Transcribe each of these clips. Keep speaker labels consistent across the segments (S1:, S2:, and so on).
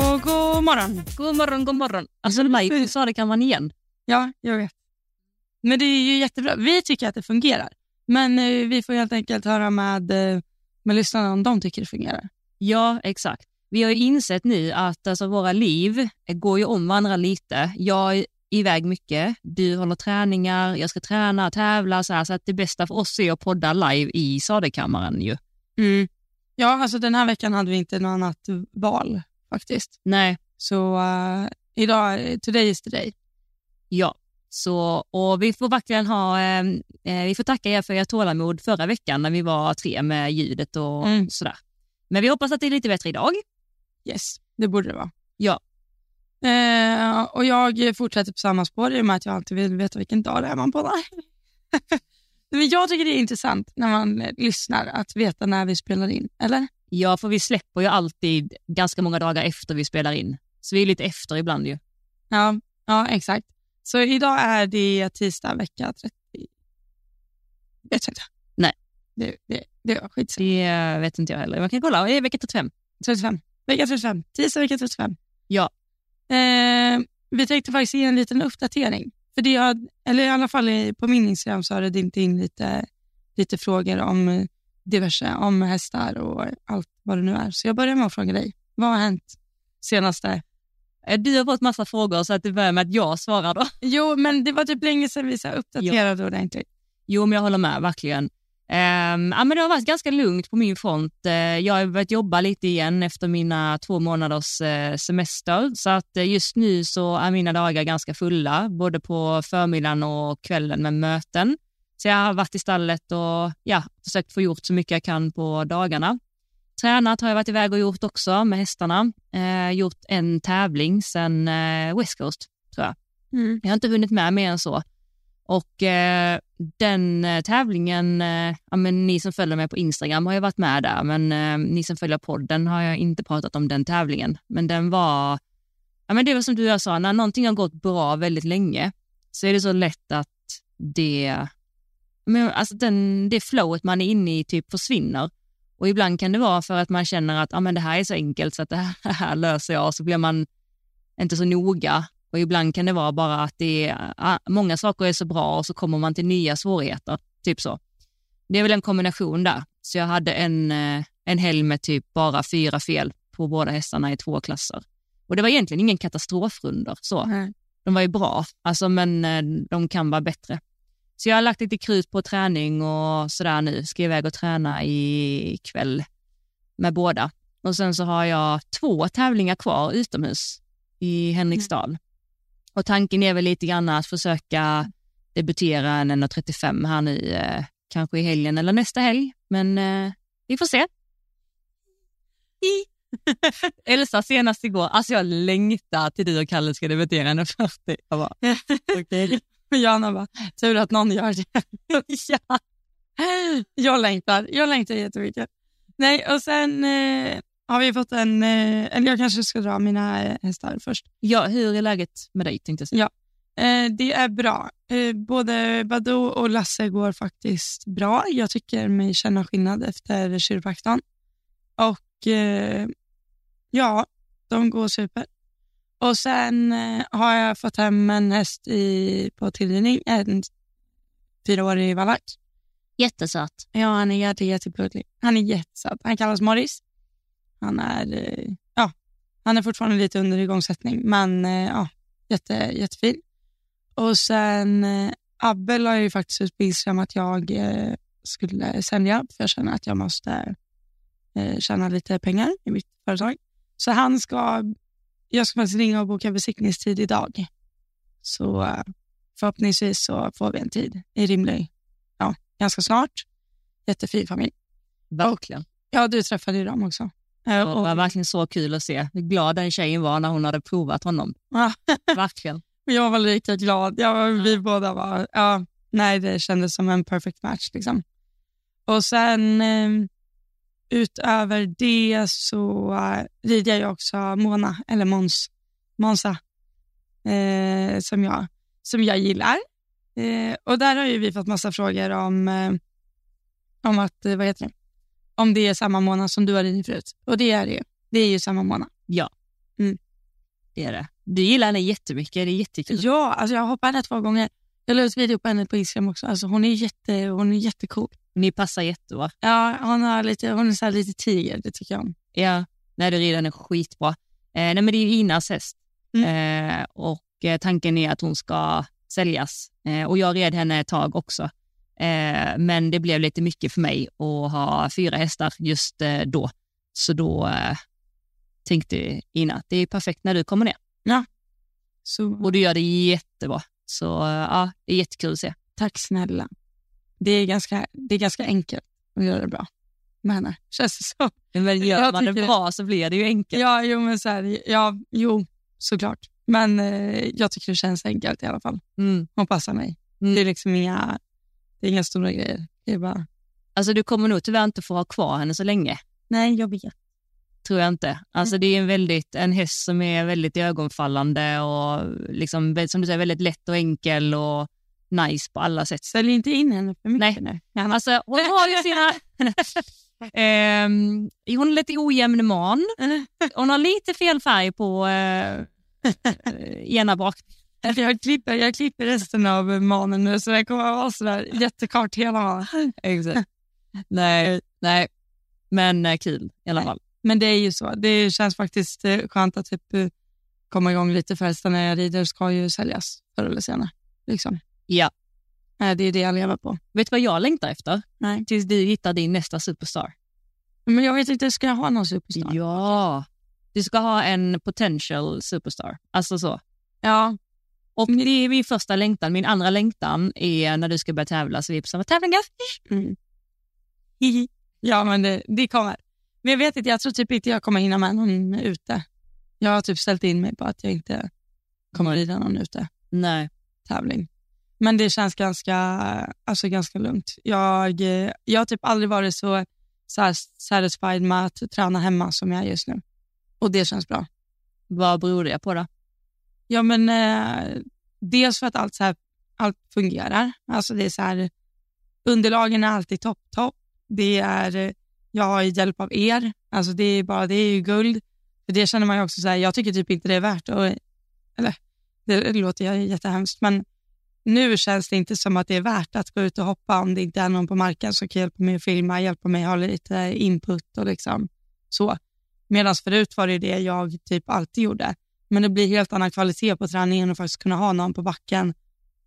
S1: god morgon.
S2: God morgon, god morgon. Alltså Maj, du sa det kan man igen.
S1: Ja, jag vet. Men det är ju jättebra. Vi tycker att det fungerar. Men eh, vi får helt enkelt höra med, eh, med lyssnarna om de tycker det fungerar.
S2: Ja, exakt. Vi har ju insett nu att alltså, våra liv eh, går ju om varandra lite. Jag är iväg mycket, du håller träningar, jag ska träna, tävla. Så, här, så att det bästa för oss är att podda live i Sadekammaren ju.
S1: Ja, alltså den här veckan hade vi inte något annat val faktiskt.
S2: Nej,
S1: Så eh, idag, today is today.
S2: ja. Så, och vi får verkligen ha, eh, eh, vi får tacka er för ert tålamod förra veckan när vi var tre med ljudet och
S1: Mm.
S2: sådär. Men vi hoppas att det är lite bättre idag.
S1: Yes, det borde det vara.
S2: Ja.
S1: Eh, och jag fortsätter på samma spår i och med att jag alltid vill veta vilken dag det är man poddar. Men jag tycker det är intressant när man eh, lyssnar att veta när vi spelar in, eller?
S2: Ja, för vi släpper ju alltid ganska många dagar efter vi spelar in. Så vi är lite efter ibland ju.
S1: Ja, ja exakt. Så idag är det tisdag vecka 30. Vet jag inte.
S2: Nej.
S1: Det, det, det var skit.
S2: Det eh, vet inte jag heller. Man kan kolla, det är vecka 35.
S1: 35. Vecka 35. Tisdag vecka 35.
S2: Ja.
S1: Eh, vi tänkte faktiskt ge en liten uppdatering. För det har, eller i alla fall i- på min Instagram så har det dimmt in lite, lite frågor om eh, diverse, om hästar och allt vad det nu är. Så jag börjar med att fråga dig. Vad har hänt senaste?
S2: Eh, Du har fått massa frågor så att det börjar med att jag svarar då.
S1: Jo, men det var typ länge sedan vi så här uppdaterade ordentligt.
S2: Jo, men jag håller med verkligen. Ehm, ja, men det har varit ganska lugnt på min front. Eh, jag har börjat jobba lite igen efter mina två månaders eh, semester. Så att eh, just nu så är mina dagar ganska fulla, både på förmiddagen och kvällen med möten. Så jag har varit i stallet och ja, försökt få gjort så mycket jag kan på dagarna. Tränat har jag varit iväg och gjort också med hästarna. Eh, gjort en tävling sen eh, West Coast.
S1: Mm.
S2: Jag har inte hunnit med mer än så. Och eh, den eh, tävlingen, eh, ja, men ni som följer mig på Instagram har ju varit med där, men eh, ni som följer podden har jag inte pratat om den tävlingen. Men den var, ja, men det var som du och jag sa, när någonting har gått bra väldigt länge så är det så lätt att det, men, alltså den, det flowet man är inne i typ försvinner. Och ibland kan det vara för att man känner att ja, men det här är så enkelt så att det här, det här löser jag och så blir man inte så noga. Och ibland kan det vara bara att det är, ah, många saker är så bra och så kommer man till nya svårigheter. Typ så. Det är väl en kombination där. Så jag hade en, eh, en helg med typ bara fyra fel på båda hästarna i två klasser. Och det var egentligen ingen katastrofrunder så.
S1: Nej.
S2: De var ju bra, alltså, men eh, de kan vara bättre. Så jag har lagt lite krut på träning och sådär nu. Ska iväg och träna ikväll med båda. Och sen så har jag två tävlingar kvar utomhus i Henriksdal. Och tanken är väl lite grann att försöka debutera en 1.35 här nu, eh, kanske i helgen eller nästa helg. Men eh, vi får se. Elsa senast igår, alltså jag längtar till du och Kalle ska debutera 1.40. Jag bara, okej.
S1: Och Johanna bara, tur att någon gör det. ja. Jag längtar, jag längtar jättemycket. Nej, och sen eh, har vi fått en, eh, eller jag kanske ska dra mina eh, hästar först.
S2: Ja, hur är läget med dig tänkte jag säga.
S1: Ja. Eh, det är bra. Eh, både Badou och Lasse går faktiskt bra. Jag tycker mig känna skillnad efter kiropraktorn. Och eh, ja, de går super. Och sen eh, har jag fått hem en häst i, på tillrinning, en fyraårig valack.
S2: Jättesöt.
S1: Ja, han är jätte, jättepullig. Han är jättesöt. Han kallas Morris. Han är, eh, ja, han är fortfarande lite under igångsättning, men eh, ja, jätte, jättefin. Och sen eh, Abbe la ju faktiskt ut på Instagram att jag eh, skulle sälja, för jag känner att jag måste eh, tjäna lite pengar i mitt företag. Så han ska, jag ska faktiskt ringa och boka besiktningstid idag. Så eh, förhoppningsvis så får vi en tid i rimlig, ja, ganska snart jättefin familj.
S2: Verkligen.
S1: Ja, du träffade ju dem också. Eh,
S2: Det var verkligen så kul att se hur glad den tjejen var när hon hade provat honom.
S1: Ja.
S2: Verkligen.
S1: och jag var lika glad. Jag, var- Vi båda var... Ja, nej, det kändes som en perfect match. Liksom. Och sen eh, utöver det så eh, rider jag också Mona, eller Måns, Monsa, eh, som, jag, som jag gillar. Eh, och där har ju vi fått massa frågor om, eh, om att, eh, vad heter det? Om det är samma Mona som du har ridit förut. Och det är det ju. Det är ju samma Mona.
S2: Ja.
S1: Mm.
S2: Det är det. Du gillar henne jättemycket, det är jättekul.
S1: Ja, alltså jag hoppade henne två gånger. Jag la ut video på henne på Instagram också. Alltså hon, är jätte, hon är jättecool.
S2: Ni passar jättebra.
S1: Ja, hon, har lite, hon är så här lite tiger, det tycker jag om.
S2: Ja, nej, du rider henne skitbra. Eh, nej, men det är ju Inas häst
S1: Mm.
S2: eh, och eh, tanken är att hon ska säljas. Eh, och jag red henne ett tag också. Eh, men det blev lite mycket för mig att ha fyra hästar just eh, då. Så då eh, tänkte Ina att det är perfekt när du kommer ner.
S1: Så
S2: Och du gör det jättebra. Så eh, ja, det är jättekul att se.
S1: tack snälla. Det är ganska, det är ganska enkelt att göra det bra med henne, känns det som.
S2: Men gör
S1: Jag
S2: man det
S1: tycker-
S2: bra så blir det ju enkelt.
S1: Ja, jo, men så här, ja, jo, såklart. Men eh, jag tycker det känns enkelt i alla fall.
S2: Mm.
S1: Hon passar mig.
S2: Mm.
S1: Det är liksom inga, det är inga stora grejer. Det är bara,
S2: Alltså du kommer nog tyvärr inte få ha kvar henne så länge.
S1: nej, jag vet.
S2: tror jag inte. Alltså det är en, väldigt, en häst som är väldigt ögonfallande och liksom, vä- som du säger, väldigt lätt och enkel och nice på alla sätt.
S1: Sälj inte in henne för mycket nej. nu. Annars,
S2: Alltså hon har ju sina... Ehm, hon är lite ojämn man. Hon har lite fel färg på eh, ena bak.
S1: jag, klipper, jag klipper resten av manen nu så det kommer att vara sådär jättekort hela manen.
S2: Exakt. Nej, nej. Men eh, kul i alla
S1: Nej.
S2: fall.
S1: Men det är ju så. Det känns faktiskt eh, skönt att typ eh, komma igång lite för hästarna jag rider ska ju säljas förr eller senare. Liksom.
S2: Ja.
S1: Eh, Det är det jag lever på.
S2: Vet du vad jag längtar efter?
S1: Nej.
S2: Tills du hittar din nästa superstar.
S1: Men jag vet inte, ska jag ha någon superstar?
S2: Ja. Du ska ha en potential superstar. Alltså så.
S1: Ja,
S2: Och det är min första längtan. Min andra längtan är när du ska börja tävla så vi är på samma tävlingar.
S1: Mm. Hihi. Ja, men det, det kommer. Men jag vet inte, jag tror typ inte jag kommer hinna med någon ute. Jag har typ ställt in mig på att jag inte kommer rida någon ute
S2: Nej.
S1: tävling. Men det känns ganska, alltså ganska lugnt. Jag, eh, jag har typ aldrig varit så, så här satisfied med att träna hemma som jag är just nu. Och det känns bra.
S2: Vad beror det på då?
S1: Ja, men eh, dels för att allt, så här, allt fungerar. Alltså det är så här, underlagen är alltid topp, topp. Det är, eh, jag har ju hjälp av er. Alltså det är bara, det är ju guld. För det känner man ju också så här, jag tycker typ inte det är värt att, eller det låter jag jättehemskt, men nu känns det inte som att det är värt att gå ut och hoppa om det inte är någon på marken som kan hjälpa mig att filma, hjälpa mig att ha lite input och liksom så. Medan förut var det ju det jag typ alltid gjorde. Men det blir helt annan kvalitet på träningen och faktiskt kunna ha någon på backen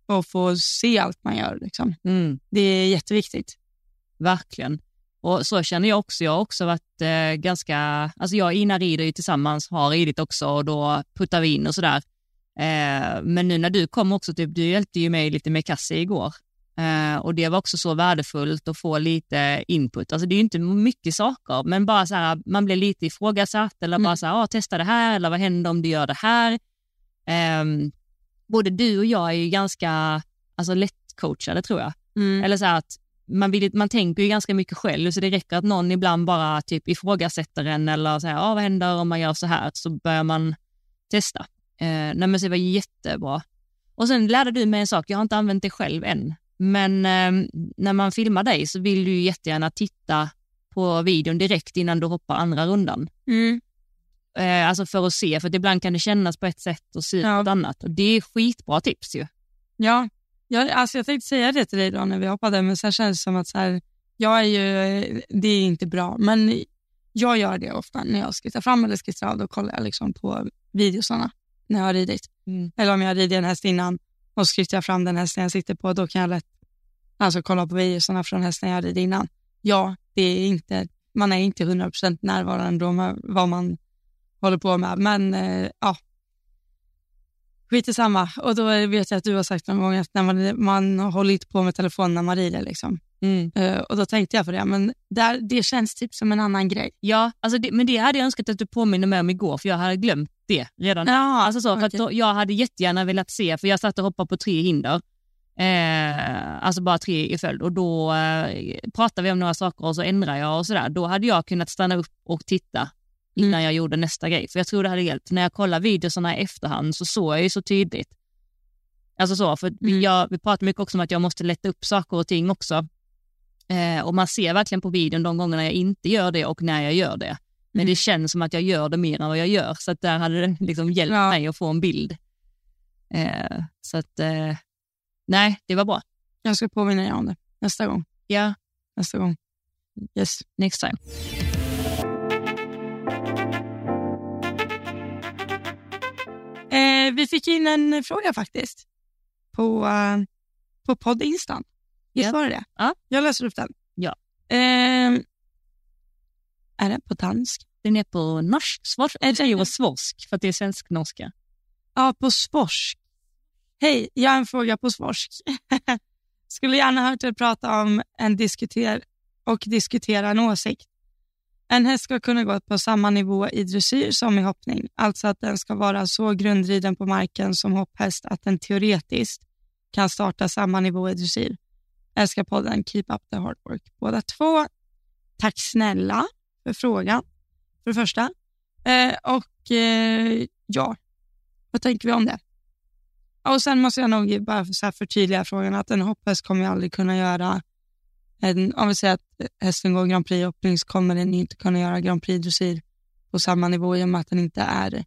S1: och få se allt man gör. Liksom.
S2: Mm.
S1: Det är jätteviktigt.
S2: Verkligen. Och så känner jag också. Jag har också varit eh, ganska... Alltså jag och Ina rider ju tillsammans, har ridit också och då puttar vi in och sådär. Eh, men nu när du kom också, typ, du hjälpte ju mig lite med Kassi igår. Eh, och det var också så värdefullt att få lite input. Alltså det är ju inte mycket saker, men bara så här, man blir lite ifrågasatt eller
S1: Mm.
S2: bara så här, ah, testa det här eller vad händer om du gör det här? Eh, både du och jag är ju ganska alltså, lättcoachade tror jag.
S1: Eller,
S2: Eller så här att man, vill, man tänker ju ganska mycket själv så det räcker att någon ibland bara typ ifrågasätter en eller så här, ah, vad händer om man gör så här? Så börjar man testa. Eh, nej, men så det var jättebra. Och sen lärde du mig en sak, jag har inte använt det själv än. Men eh, när man filmar dig så vill du ju jättegärna titta på videon direkt innan du hoppar andra rundan. Eh, alltså för att se, för att ibland kan det kännas på ett sätt och se ut på
S1: Ja.
S2: ett annat. Och det är skitbra tips ju.
S1: Ja, jag, alltså jag tänkte säga det till dig då när vi hoppade, men sen känns det som att så här, jag är ju, eh, det är inte bra, men jag gör det ofta när jag skrittar fram eller skrittar av. Då kollar jag liksom på videosarna när jag har ridit.
S2: Mm.
S1: Eller om jag har ridit en häst innan och skrittar jag fram den hästen jag sitter på, då kan jag lätt alltså, kolla på videosarna från hästen jag ridit innan. Ja, det är inte, man är inte 100% närvarande då med vad man håller på med, men eh, ja, Skit i samma. Och då vet jag att du har sagt någon gång att när man, man håller inte på med telefonen när man rider. Liksom. Eh, och då tänkte jag på det, men där, det känns typ som en annan grej.
S2: Ja, alltså det, men det hade jag önskat att du påminner mig om igår för jag hade glömt det redan.
S1: Ja,
S2: Alltså så, för att då, jag hade jättegärna velat se, för jag satt och hoppade på tre hinder. Eh, alltså bara tre i följd och då eh, pratade vi om några saker och så ändrade jag och sådär. Då hade jag kunnat stanna upp och titta innan jag gjorde nästa grej. För jag tror det hade hjälpt. När jag kollade videorna i efterhand så såg jag ju så tydligt. Alltså så, för vi-
S1: Mm.
S2: jag, vi pratar mycket också om att jag måste lätta upp saker och ting också. Eh, och man ser verkligen på videon de gångerna jag inte gör det och när jag gör det. Men det känns som att jag gör det mer än vad jag gör. Så att där hade det liksom hjälpt
S1: Ja.
S2: mig att få en bild. Eh, så att, eh, nej, det var bra.
S1: Jag ska påminna dig om det nästa gång.
S2: Ja,
S1: Nästa gång. Yes.
S2: next time.
S1: Eh, vi fick in en fråga faktiskt på, eh, på poddinstan. Visst
S2: Ja.
S1: var det det?
S2: Ja.
S1: Jag läser upp den.
S2: Ja.
S1: Ehm, är den på dansk?
S2: Den är på norsk, svorsk. Jag säger svorsk för att det är svensk-norska.
S1: Ja, på svorsk. Hej, jag har en fråga på svorsk. Skulle gärna hört er prata om en diskuter och diskutera en åsikt. En häst ska kunna gå på samma nivå i dressyr som i hoppning, alltså att den ska vara så grundriden på marken som hopphäst att den teoretiskt kan starta samma nivå i dressyr. Älskar podden Keep Up The Hard Work båda två. Tack snälla för frågan, för det första. Eh, och eh, ja, vad tänker vi om det? Ja, Och Sen måste jag nog bara för- så här förtydliga frågan att en hopphäst kommer ju aldrig kunna göra, en, om vi säger att hästen går Grand Prix i hoppning så kommer den ju inte kunna göra Grand Prix dressyr på samma nivå i och med att den inte är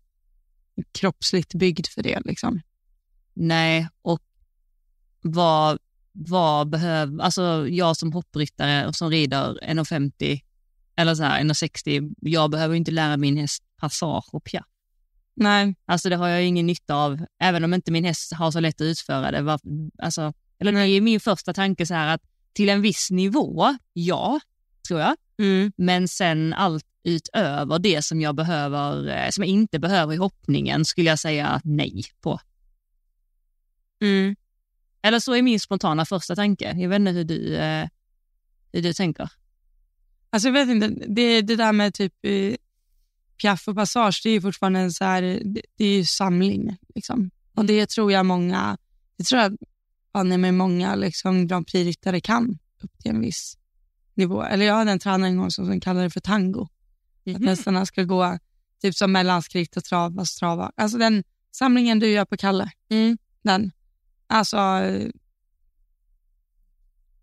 S1: kroppsligt byggd för det. Liksom.
S2: Nej, och vad, vad behöver... Alltså jag som hoppryttare och som rider 1,50 eller så här 1,60, jag behöver inte lära min häst passage och pjatt.
S1: Nej,
S2: Alltså det har jag ju ingen nytta av, även om inte min häst har så lätt att utföra det. Var, alltså, eller det är ju min första tanke så här att till en viss nivå, ja, tror jag. Men sen allt utöver det som jag behöver, eh, som jag inte behöver i hoppningen skulle jag säga nej på. Eller så är min spontana första tanke. Jag vet inte hur du, eh, hur du tänker.
S1: Alltså jag vet inte, det, det där med typ eh, piaff och passage, det är ju fortfarande en så här, det, det är ju samling. Liksom. Och det tror jag många, det tror jag ja, nej, men många liksom, Grand Prix-ryttare kan upp till en viss nivå. Eller jag hade en tränare en gång som, som kallade det för tango.
S2: Mhm.
S1: Att hästarna ska gå typ som mellanskritt och trav, fast trava. Alltså den samlingen du gör på Kalle.
S2: Mm.
S1: Den. Alltså, eh,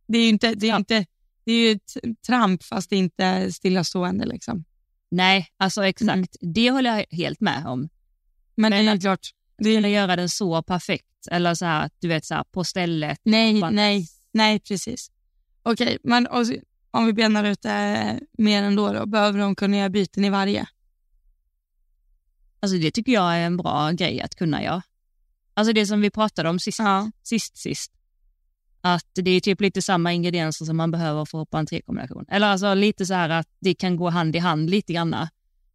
S1: det är ju inte, det är
S2: Ja.
S1: inte, det är ju ett tramp fast det är inte stillastående. Liksom.
S2: Nej, alltså exakt. Det håller jag helt med om.
S1: Men
S2: Men-
S1: det är klart,
S2: Du vill göra den så perfekt, eller så här, du vet, så här, på stället.
S1: nej,
S2: Bara-
S1: nej, nej, precis. Okej, men och, så- om vi benar ut det mer ändå då, behöver de kunna göra byten i varje?
S2: Alltså det tycker jag är en bra grej att kunna göra. Alltså det som vi pratade om sist,
S1: Ja.
S2: sist, sist. Att det är typ lite samma ingredienser som man behöver för att hoppa en trekombination. Eller alltså lite så här att det kan gå hand i hand lite granna.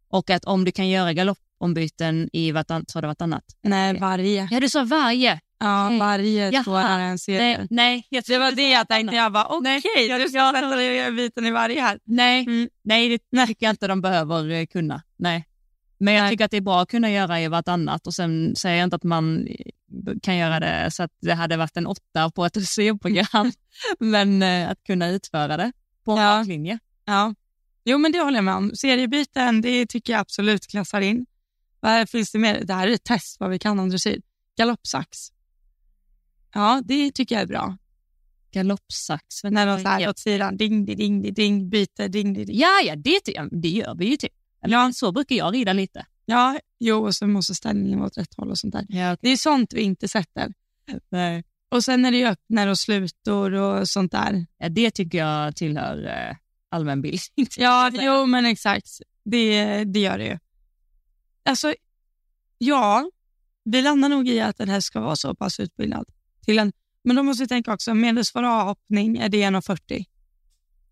S2: Och att om du kan göra galoppombyten i vartannat, sa du vartannat?
S1: Nej, varje.
S2: Ja, du sa varje.
S1: Ja,
S2: Okej.
S1: varje
S2: Jaha.
S1: svårare än serier.
S2: Nej, nej, jag
S1: Det var det jag tänkte. Jag bara, okej,
S2: Nej.
S1: du ska sätta dig och göra byten i varje här.
S2: Nej,
S1: Mm.
S2: nej det tycker jag inte de behöver eh, kunna. Nej. Men jag tycker att det är bra att kunna göra i vartannat och sen säger jag inte att man eh, kan göra det så att det hade varit en åtta på ett C-program, men eh, att kunna utföra det på en
S1: Ja.
S2: rak linje.
S1: Ja. Jo, men det håller jag med om. Seriebyten, det tycker jag absolut klassar in. Vad finns det mer? Det här är ett test vad vi kan om dressyr. Galoppsax. Ja, det tycker jag är bra.
S2: Galoppsax. vänta,
S1: När de så här
S2: ja.
S1: åt sidan, ding, di, ding, di, ding, byter, ding, di, ding.
S2: ja, ja, det, ty- ja, det gör vi ju typ. Eller, Så brukar jag rida lite.
S1: Ja, jo, och så måste ställningen vara åt rätt håll och sånt där.
S2: Ja,
S1: Det är sånt vi inte sätter.
S2: nej.
S1: Och sen är det ju öppnar och slutor och sånt där.
S2: Ja, det tycker jag tillhör eh, allmänbildning.
S1: Ja,
S2: säga.
S1: jo men exakt. Det, det gör det ju. Alltså, ja, vi landar nog i att den här ska vara så pass utbildad. Till en, men då måste vi tänka också, medelsvår avhoppning, är det 1,40?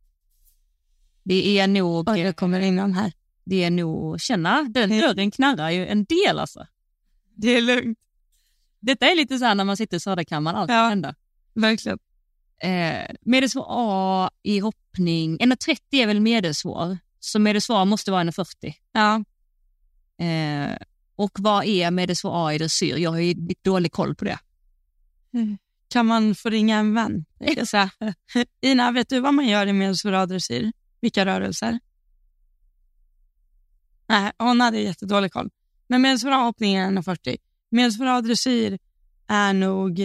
S2: Det är nog... eh,
S1: Oj, det kommer in någon här.
S2: det är nog, känna, den dörren knarrar ju en del alltså.
S1: Det är lugnt,
S2: Detta är lite så här när man sitter i Söderkammaren, allt
S1: Ja.
S2: kan hända.
S1: verkligen.
S2: Eh, medelsvår A i hoppning, 1,30 är väl medelsvår, så medelsvår måste vara 1,40.
S1: Ja,
S2: Eh, och vad är medelsvår A i dressyr? Jag har ju dålig koll på det.
S1: kan man få ringa en vän? tänkte Jag säga. Ina, vet du vad man gör i medelsvår adressyr? Vilka rörelser? Nej, hon hade jättedålig koll. Men medelsvår avhoppning är 1,40. Medelsvår adressyr är nog...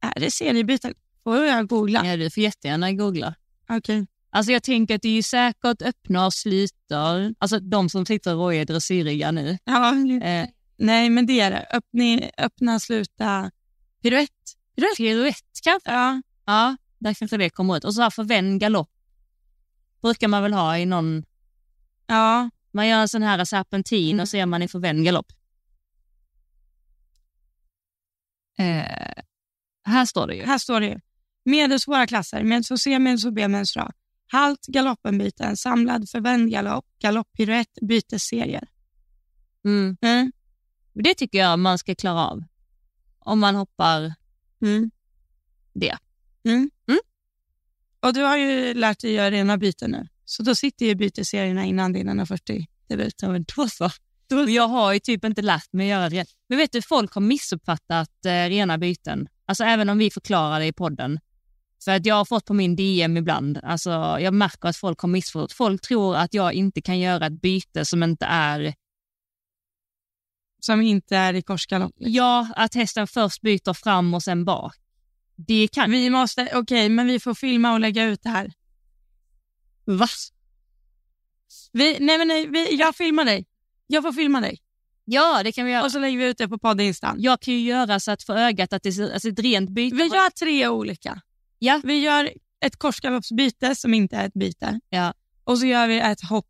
S1: Är det seriebyten? Får jag googla?
S2: Ja, du får jättegärna googla.
S1: Okej.
S2: Alltså jag tänker att det är ju säkert öppna och slutar, alltså de som sitter och är dressyrryggar nu.
S1: Ja,
S2: Eh,
S1: nej, men det är det. Öppna, öppna sluta, piruett.
S2: piruett. piruett kanske?
S1: Ja,
S2: Ja, där kanske det kommer ut. Och så här förvänd galopp brukar man väl ha i någon,
S1: ja,
S2: man gör en sån här serpentin och så gör man i förvänd galopp. Eh, här står det ju.
S1: här står det ju. Medelsvåra klasser, medelsvår C, medelsvår B, medelsvår A. Halt, galoppenbyten, samlad, förvänd galopp, galopp, piruett, bytesserier.
S2: Mm.
S1: Mm.
S2: Och Det tycker jag man ska klara av. Om man hoppar,
S1: Mm.
S2: Det.
S1: Mm.
S2: Mm.
S1: Och du har ju lärt dig göra rena byten nu. Så då sitter ju byteserierna innan din 140 debut.
S2: ja men då så. Då- Jag har ju typ inte lärt mig att göra det. Men vet du, folk har missuppfattat eh, rena byten. Alltså även om vi förklarar det i podden. För att jag har fått på min DM ibland, alltså jag märker att folk har missförstått. Folk tror att jag inte kan göra ett byte som inte är,
S1: Som inte är i korsgalopp.
S2: ja att hästen först byter fram och sen bak. Det kan
S1: Vi måste, okej, men vi får filma och lägga ut det här.
S2: Va?
S1: Vi, nej, men nej, vi, jag filmar dig. Jag får filma dig.
S2: Ja, det kan vi göra.
S1: Och så lägger vi ut det på poddinstan.
S2: Jag kan ju göra så att för ögat att det ser, alltså ett rent byte.
S1: Vi gör tre olika.
S2: Ja.
S1: Vi gör ett korsgaloppsbyte som inte är ett byte.
S2: Ja.
S1: Och så gör vi ett hopp,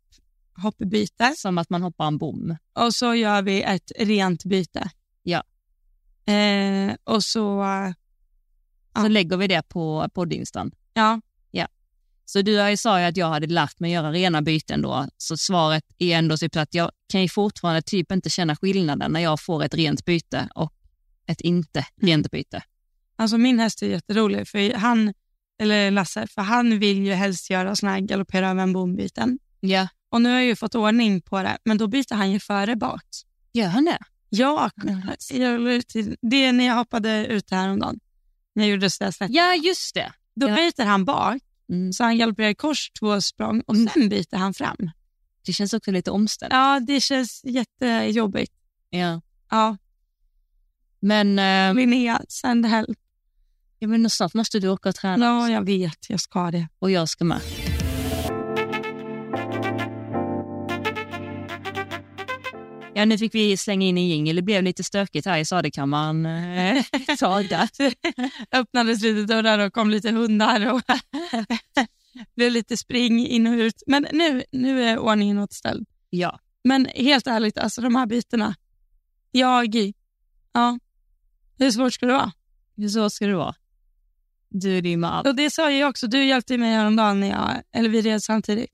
S1: hoppbyte.
S2: Som att man hoppar en bom.
S1: Och så gör vi ett rent byte.
S2: Ja.
S1: Eh, och så,
S2: Så lägger vi det på poddinstan.
S1: ja,
S2: Så du har ju sa ju att jag hade lärt mig göra rena byten då. Så svaret är ändå typ så att jag kan ju fortfarande typ inte känna skillnaden när jag får ett rent byte och ett inte rent byte.
S1: alltså min häst är jätterolig. För han, eller Lasse, för han vill ju helst göra såna här galoppera över en bombyten.
S2: Ja.
S1: Och nu har jag ju fått ordning på det, men då byter han ju före bak.
S2: Gör han det?
S1: Ja, jag la ut till- det är när jag hoppade ut häromdagen. När jag gjorde sådär snett.
S2: Ja, just det.
S1: Då
S2: Ja.
S1: byter han bak,
S2: Mm.
S1: så han galopperar i kors två språng och
S2: Mm.
S1: sen byter han fram.
S2: Det känns också lite omständigt.
S1: Ja, det känns jättejobbigt.
S2: Ja.
S1: Ja,
S2: Men, eh,
S1: Linnea, send help.
S2: ja, men snart måste du åka och träna
S1: Ja, jag vet, jag ska det.
S2: och jag ska med. Ja, nu fick vi slänga in en jingel. Det blev lite stökigt här i sadelkammaren. eh, ett tag där.
S1: Öppnades lite dörrar och kom lite hundar och blev lite spring in och ut. Men nu, nu är ordningen återställd.
S2: Ja.
S1: Men helt ärligt, alltså de här bitarna. Jag, ja. Hur svårt ska det vara?
S2: Hur så ska det vara. Du är din man.
S1: Och det sa jag också. Du hjälpte mig häromdagen, när jag, eller vi red samtidigt.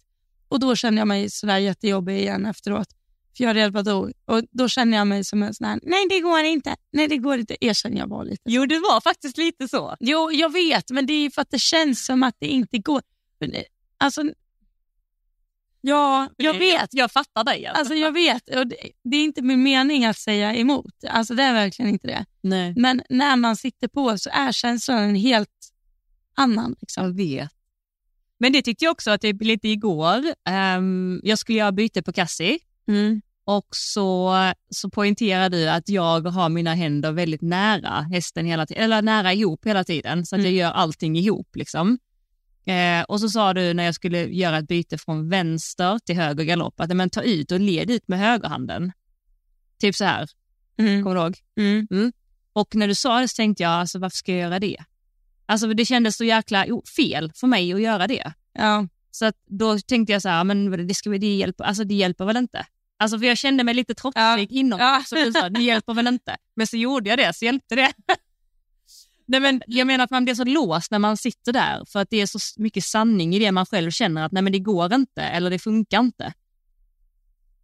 S1: Och då kände jag mig sådär jättejobbig igen efteråt. För jag red Badou. Och då kände jag mig som en sån här, nej det går inte, nej det går inte. Erkänner jag var lite.
S2: Jo, det var faktiskt lite så.
S1: Jo, jag vet, men det är ju för att det känns som att det inte går. Men det- Alltså, ja, jag vet.
S2: jag fattar dig.
S1: Alltså jag vet, och det, det är inte min mening att säga emot. Alltså det är verkligen inte det.
S2: nej.
S1: Men när man sitter på så är känslan en helt annan. Liksom.
S2: Jag vet. Men det tyckte jag också att det blev lite igår. Ehm, jag skulle göra byte på Cassie och så, så poängterar du att jag har mina händer väldigt nära hästen hela tiden, eller nära ihop hela tiden så att
S1: Mm.
S2: jag gör allting ihop. Liksom. Eh, och så sa du när jag skulle göra ett byte från vänster till höger galopp att men, ta ut och led ut med högerhanden. Typ så här, kommer du ihåg?
S1: Mm.
S2: Och när du sa det så tänkte jag, alltså, varför ska jag göra det? Alltså det kändes så jäkla jo, fel för mig att göra det.
S1: Ja.
S2: Så att då tänkte jag så här, men det, ska, vi- det, hjälper, alltså, det hjälper väl inte? Alltså för jag kände mig lite trotsig
S1: Ja.
S2: inom.
S1: Ja.
S2: Så du sa, det hjälper väl inte? Men så gjorde jag det, så hjälpte det. Nej, men jag menar att man blir så låst när man sitter där för att det är så s- mycket sanning i det man själv känner att nej men det går inte eller det funkar inte.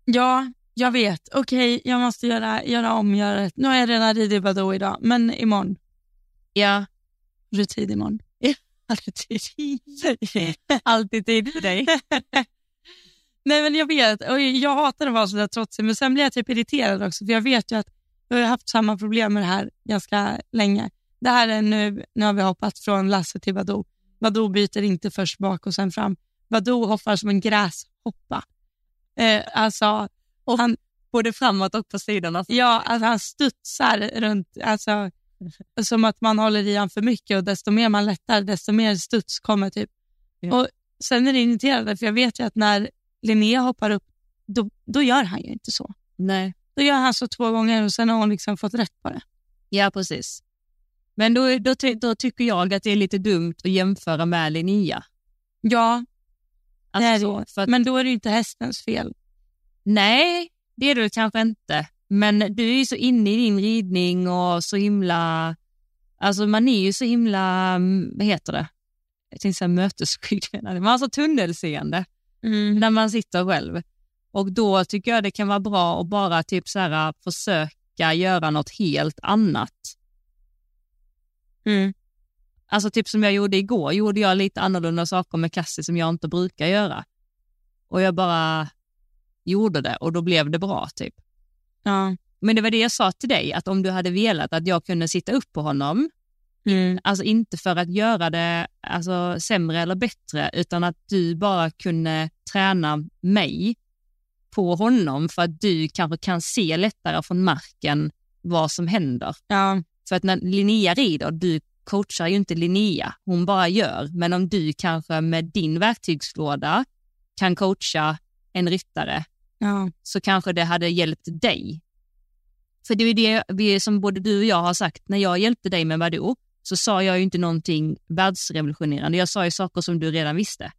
S1: ja, jag vet. Okej, jag måste göra, göra om, göra rätt. Nu har jag redan ridit Badou idag, men imorgon.
S2: Ja,
S1: Rutin imorgon.
S2: alltid tid. alltid tid för dig.
S1: Nej, men jag vet. Och jag hatar att vara så där trotsig, men sen blir jag typ irriterad också. För jag vet ju att jag har haft samma problem med det här ganska länge. Det här är nu, nu har vi hoppat från Lasse till Badou. Badou byter inte först bak och sen fram. Badou hoppar som en gräshoppa. Eh, alltså, och han,
S2: Både framåt och på sidorna.
S1: ja, alltså, han studsar runt, alltså, som att man håller i han för mycket och desto mer man lättar, desto mer studs kommer typ.
S2: Ja.
S1: Och Sen är det irriterande, för jag vet ju att när Linnea hoppar upp, då, då gör han ju inte så.
S2: Nej.
S1: Då gör han så två gånger och sen har hon liksom fått rätt på det.
S2: Ja, precis. Men då, då, ty- då tycker jag att det är lite dumt att jämföra med Linnea.
S1: Ja,
S2: Alltså
S1: det är
S2: så,
S1: det.
S2: för att,
S1: men då är det ju inte hästens fel.
S2: Nej, det är du kanske inte. Men du är ju så inne i din ridning och så himla... Alltså man är ju så himla, mm, vad heter det? Jag tänkte säga mötesskydd. Man har så tunnelseende när man sitter själv. Och då tycker jag det kan vara bra att bara typ så här, försöka göra något helt annat.
S1: Mm.
S2: Alltså typ som jag gjorde igår, gjorde jag lite annorlunda saker med Cassie som jag inte brukar göra. Och jag bara gjorde det och då blev det bra typ.
S1: Ja.
S2: Men det var det jag sa till dig, att om du hade velat att jag kunde sitta upp på honom,
S1: Mm.
S2: alltså inte för att göra det alltså, sämre eller bättre, utan att du bara kunde träna mig på honom för att du kanske kan se lättare från marken vad som händer.
S1: ja.
S2: För att när Linnea rider, du coachar ju inte Linnea, hon bara gör. Men om du kanske med din verktygslåda kan coacha en ryttare
S1: ja.
S2: så kanske det hade hjälpt dig. För det är ju det vi, som både du och jag har sagt, när jag hjälpte dig med Badoo så sa jag ju inte någonting världsrevolutionerande. Jag sa ju saker som du redan visste.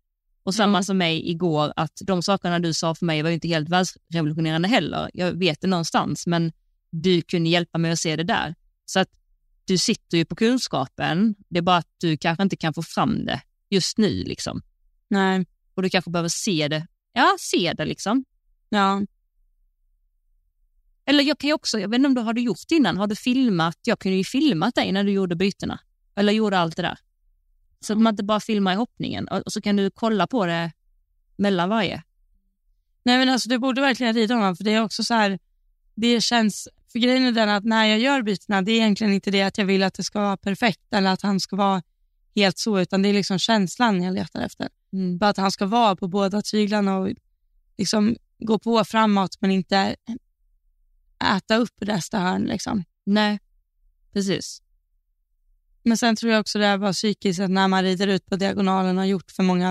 S2: Och samma som mig igår, att de sakerna du sa för mig var ju inte helt världsrevolutionerande heller. Jag vet det någonstans, men du kunde hjälpa mig att se det där. Så att du sitter ju på kunskapen, det är bara att du kanske inte kan få fram det just nu. Liksom.
S1: Nej.
S2: Och du kanske behöver se det, ja, se det liksom.
S1: Ja.
S2: Eller jag kan ju också, jag vet inte om du har du gjort det innan, har du filmat? Jag kunde ju filmat dig när du gjorde bytena. Eller gjorde allt det där. Så att man inte bara filmar i hoppningen och, och så kan du kolla på det mellan varje.
S1: Nej men alltså du borde verkligen rida honom för det är också så här, det känns, för grejen är den att när jag gör bytena, det är egentligen inte det att jag vill att det ska vara perfekt eller att han ska vara helt så, utan det är liksom känslan jag letar efter. Bara att han ska vara på båda tyglarna och liksom gå på framåt men inte äta upp nästa hörn liksom.
S2: Nej, precis.
S1: Men sen tror jag också det är bara psykiskt att när man rider ut på diagonalen och har gjort för många,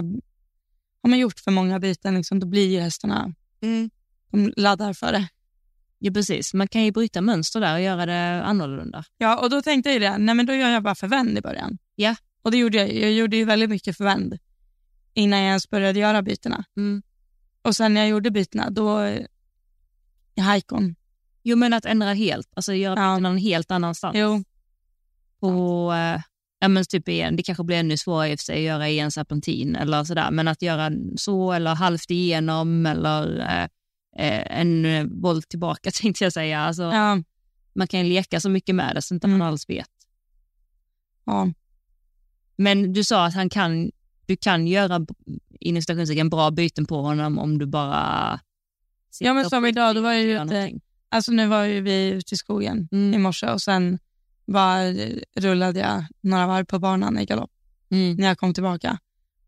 S1: har man gjort för många byten liksom, då blir ju hästarna, de laddar för det.
S2: Ja, precis. Man kan ju bryta mönster där och göra det annorlunda.
S1: Ja, och då tänkte jag ju det, nej men då gör jag bara förvänd i början.
S2: Ja.
S1: Och det gjorde jag ju. Jag gjorde ju väldigt mycket förvänd innan jag ens började göra bytena.
S2: Mm.
S1: Och sen när jag gjorde bytena, då... eh, i Haikon.
S2: Jo, men att ändra helt, alltså göra
S1: Ja.
S2: bytena någon helt annanstans.
S1: Jo.
S2: Och, eh, ja, men typ igen, det kanske blir ännu svårare i och för sig att göra i en serpentin eller sådär, men att göra så eller halvt igenom eller eh, eh, en eh, boll tillbaka tänkte jag säga. Alltså,
S1: Ja. Mm.
S2: Man kan ju leka så mycket med det så inte man alls vet.
S1: ja.
S2: Men du sa att han kan, du kan göra b- inom citationstecken bra byten på honom om du bara sitter
S1: Ja, men
S2: och
S1: som idag, då var jag ju
S2: gör
S1: ute-
S2: någonting.
S1: Alltså nu var ju vi ute i skogen i
S2: Mm.
S1: morse och sen bara eh, rullade jag några varv på banan i galopp
S2: Mm.
S1: när jag kom tillbaka.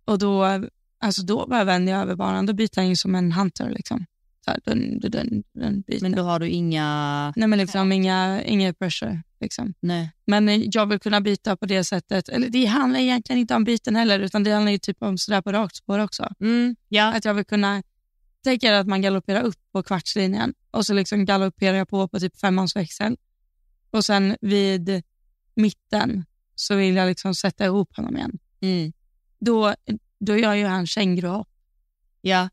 S1: Och då, alltså då bara vände jag över banan. Då byter jag in som en hunter liksom. Så här, dun, dun, dun, dun, byter.
S2: Men då har du inga...
S1: Nej men liksom inga, inga pressure. Liksom.
S2: Nej.
S1: Men eh, jag vill kunna byta på det sättet. Eller det handlar egentligen inte om byten heller, utan det handlar ju typ om sådär på rakt spår också.
S2: Mm. Ja.
S1: Att jag vill kunna, tänker att man galopperar upp på kvartslinjen och så liksom galopperar jag på på typ femmansväxeln. Och sen vid mitten så vill jag liksom sätta ihop honom igen.
S2: Mm.
S1: Då, då gör ju han känguruhopp.
S2: Ja.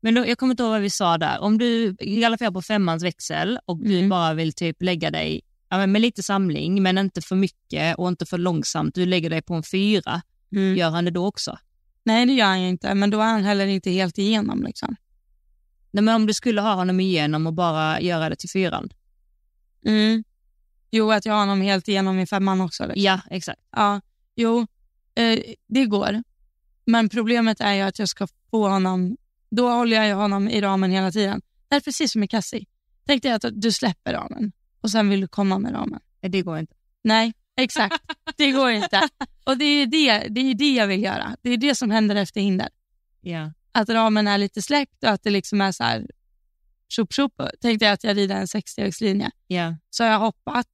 S2: Men då, jag kommer inte ihåg vad vi sa där. Om du galopperar på femmans växel och du
S1: Mm.
S2: bara vill typ lägga dig ja, men med lite samling, men inte för mycket och inte för långsamt. Du lägger dig på en fyra.
S1: Ja.
S2: Gör han det då också?
S1: Nej, det gör han ju inte, men då är han heller inte helt igenom. Liksom.
S2: Nej, men om du skulle ha honom igenom och bara göra det till fyran.
S1: Jo, att jag har honom helt igenom i femman också. Liksom.
S2: Ja, exakt.
S1: Ja, jo, eh, det går. Men problemet är ju att jag ska få honom... Då håller jag ju honom i ramen hela tiden. Det är precis som med Cassie. Tänk dig att du släpper ramen och sen vill du komma med ramen.
S2: Nej, Det går inte.
S1: Nej, exakt. Det går inte. Och det är ju det, det, är ju det jag vill göra. Det är det som händer efter hinder.
S2: Ja.
S1: Att ramen är lite släppt och att det liksom är så här... Tjopp, tjopp. Tänk dig att jag rider en 60-vägslinje.
S2: Ja.
S1: Så har jag hoppat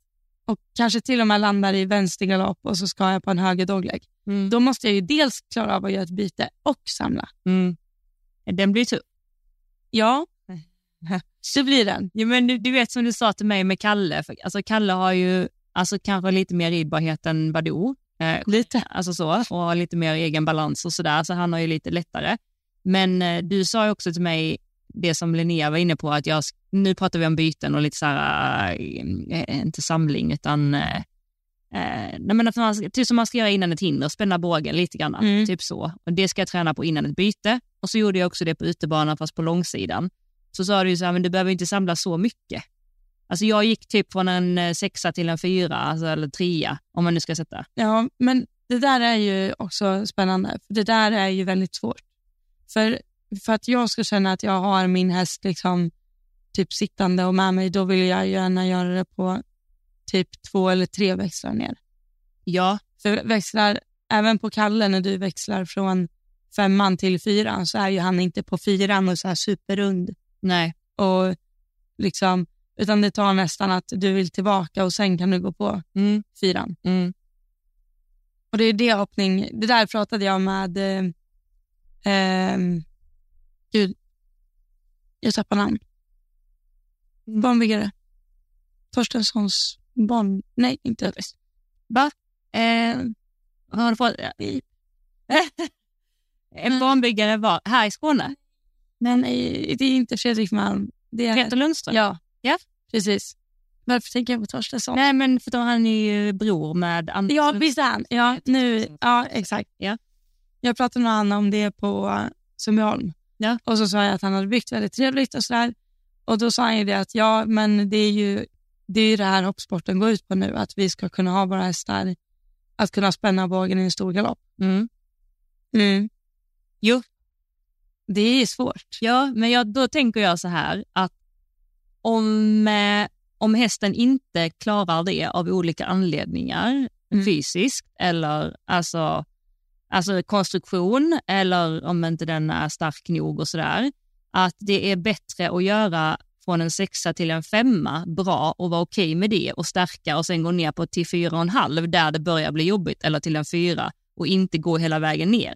S1: och kanske till och med landar i vänstergalopp och så ska jag på en höger dogleg.
S2: Mm.
S1: Då måste jag ju dels klara av att göra ett byte och samla.
S2: Mm. Den blir tuff.
S1: Ja, så blir den.
S2: Ja, men du, du vet som du sa till mig med Kalle. För, alltså, Kalle har ju alltså, kanske lite mer ridbarhet än Badoo. Eh, lite. Alltså så, och har lite mer egen balans och sådär, så han har ju lite lättare. Men eh, du sa ju också till mig det som Linnea var inne på, att jag, sk- nu pratar vi om byten och lite så här, eh, inte samling, utan eh, eh, nej, men att man, ska- typ som man ska göra innan ett hinder, spänna bågen lite grann.
S1: Mm.
S2: Typ så. Och det ska jag träna på innan ett byte. Och så gjorde jag också det på utebanan, fast på långsidan. Så sa du ju så här, men du behöver inte samla så mycket. Alltså jag gick typ från en eh, sexa till en fyra, alltså, eller trea, om man nu ska sätta.
S1: Ja, men det där är ju också spännande. För Det där är ju väldigt svårt. För, för att jag ska känna att jag har min häst liksom, typ sittande och med mig, då vill jag gärna göra det på typ två eller tre växlar ner.
S2: Ja,
S1: För växlar, även på Kalle när du växlar från femman till fyran så är ju han inte på fyran och så här superrund.
S2: nej,
S1: Och liksom, utan det tar nästan att du vill tillbaka och sen kan du gå på
S2: Mm.
S1: fyran.
S2: mm.
S1: Och det är det hoppning, det där pratade jag med, eh, ehm, gud, jag tappar namn.
S2: Mm.
S1: Barnbyggare. Torstenssons barn, nej inte Övis.
S2: Va? Eh, har du fått...
S1: Mm.
S2: en barnbyggare var här i Skåne.
S1: Men eh, det är inte Fredrik Malm. Det är,
S2: Peter Lundström.
S1: Ja.
S2: Ja.
S1: precis. Varför tänker jag på Torstensson?
S2: Nej, men för då han är ju bror med Anders.
S1: Ja, visst är han. Ja, nu, ja exakt.
S2: Ja.
S1: Jag pratade med honom om det på eh, Sundbyholm.
S2: Ja.
S1: Och så sa jag att han hade byggt väldigt trevligt och sådär. Och då sa han ju det att ja, men det är ju det, är ju det här hoppsporten går ut på nu. Att vi ska kunna ha våra hästar, att kunna spänna bågen i en stor galopp.
S2: Mm.
S1: Jo. Det är svårt.
S2: Ja, men jag, då tänker jag så här att om, eh, om hästen inte klarar det av olika anledningar,
S1: Mm.
S2: fysiskt eller alltså, alltså konstruktion eller om inte den är stark nog och sådär, att det är bättre att göra från en sexa till en femma bra och vara okej med det och stärka och sen gå ner på till fyra och en halv där det börjar bli jobbigt eller till en fyra och inte gå hela vägen ner.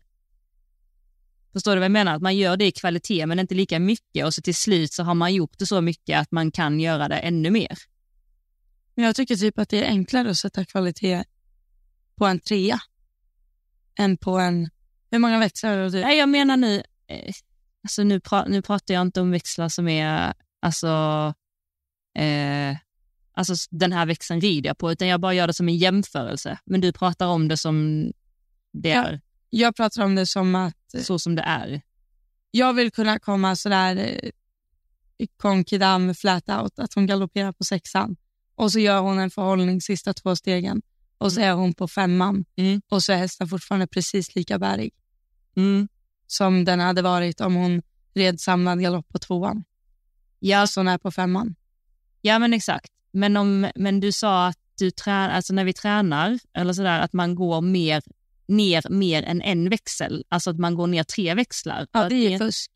S2: Förstår du vad jag menar? Att man gör det i kvalitet men inte lika mycket och så till slut så har man gjort det så mycket att man kan göra det ännu mer.
S1: Men jag tycker typ att det är enklare att sätta kvalitet på en trea än på en... Hur många växlar har du?
S2: Nej, jag menar nu, eh, alltså nu, pra, nu pratar jag inte om växlar som är, alltså, eh, alltså s- den här växeln rider jag på, utan jag bara gör det som en jämförelse. Men du pratar om det som det
S1: Ja.
S2: är,
S1: Jag pratar om det som att
S2: så som det är.
S1: jag vill kunna komma sådär eh, konkidam flat out, att hon galopperar på sexan och så gör hon en förhållning sista två stegen och så är hon på femman
S2: Mm.
S1: och så är hästen fortfarande precis lika bärig som den hade varit om hon red samlad galopp på tvåan.
S2: Ja,
S1: Alltså hon är på femman.
S2: Ja, men exakt. Men, om, men du sa att du tränar, alltså när vi tränar, eller sådär, att man går mer, ner mer än en växel. Alltså att man går ner tre växlar.
S1: Ja, det är ju fusk.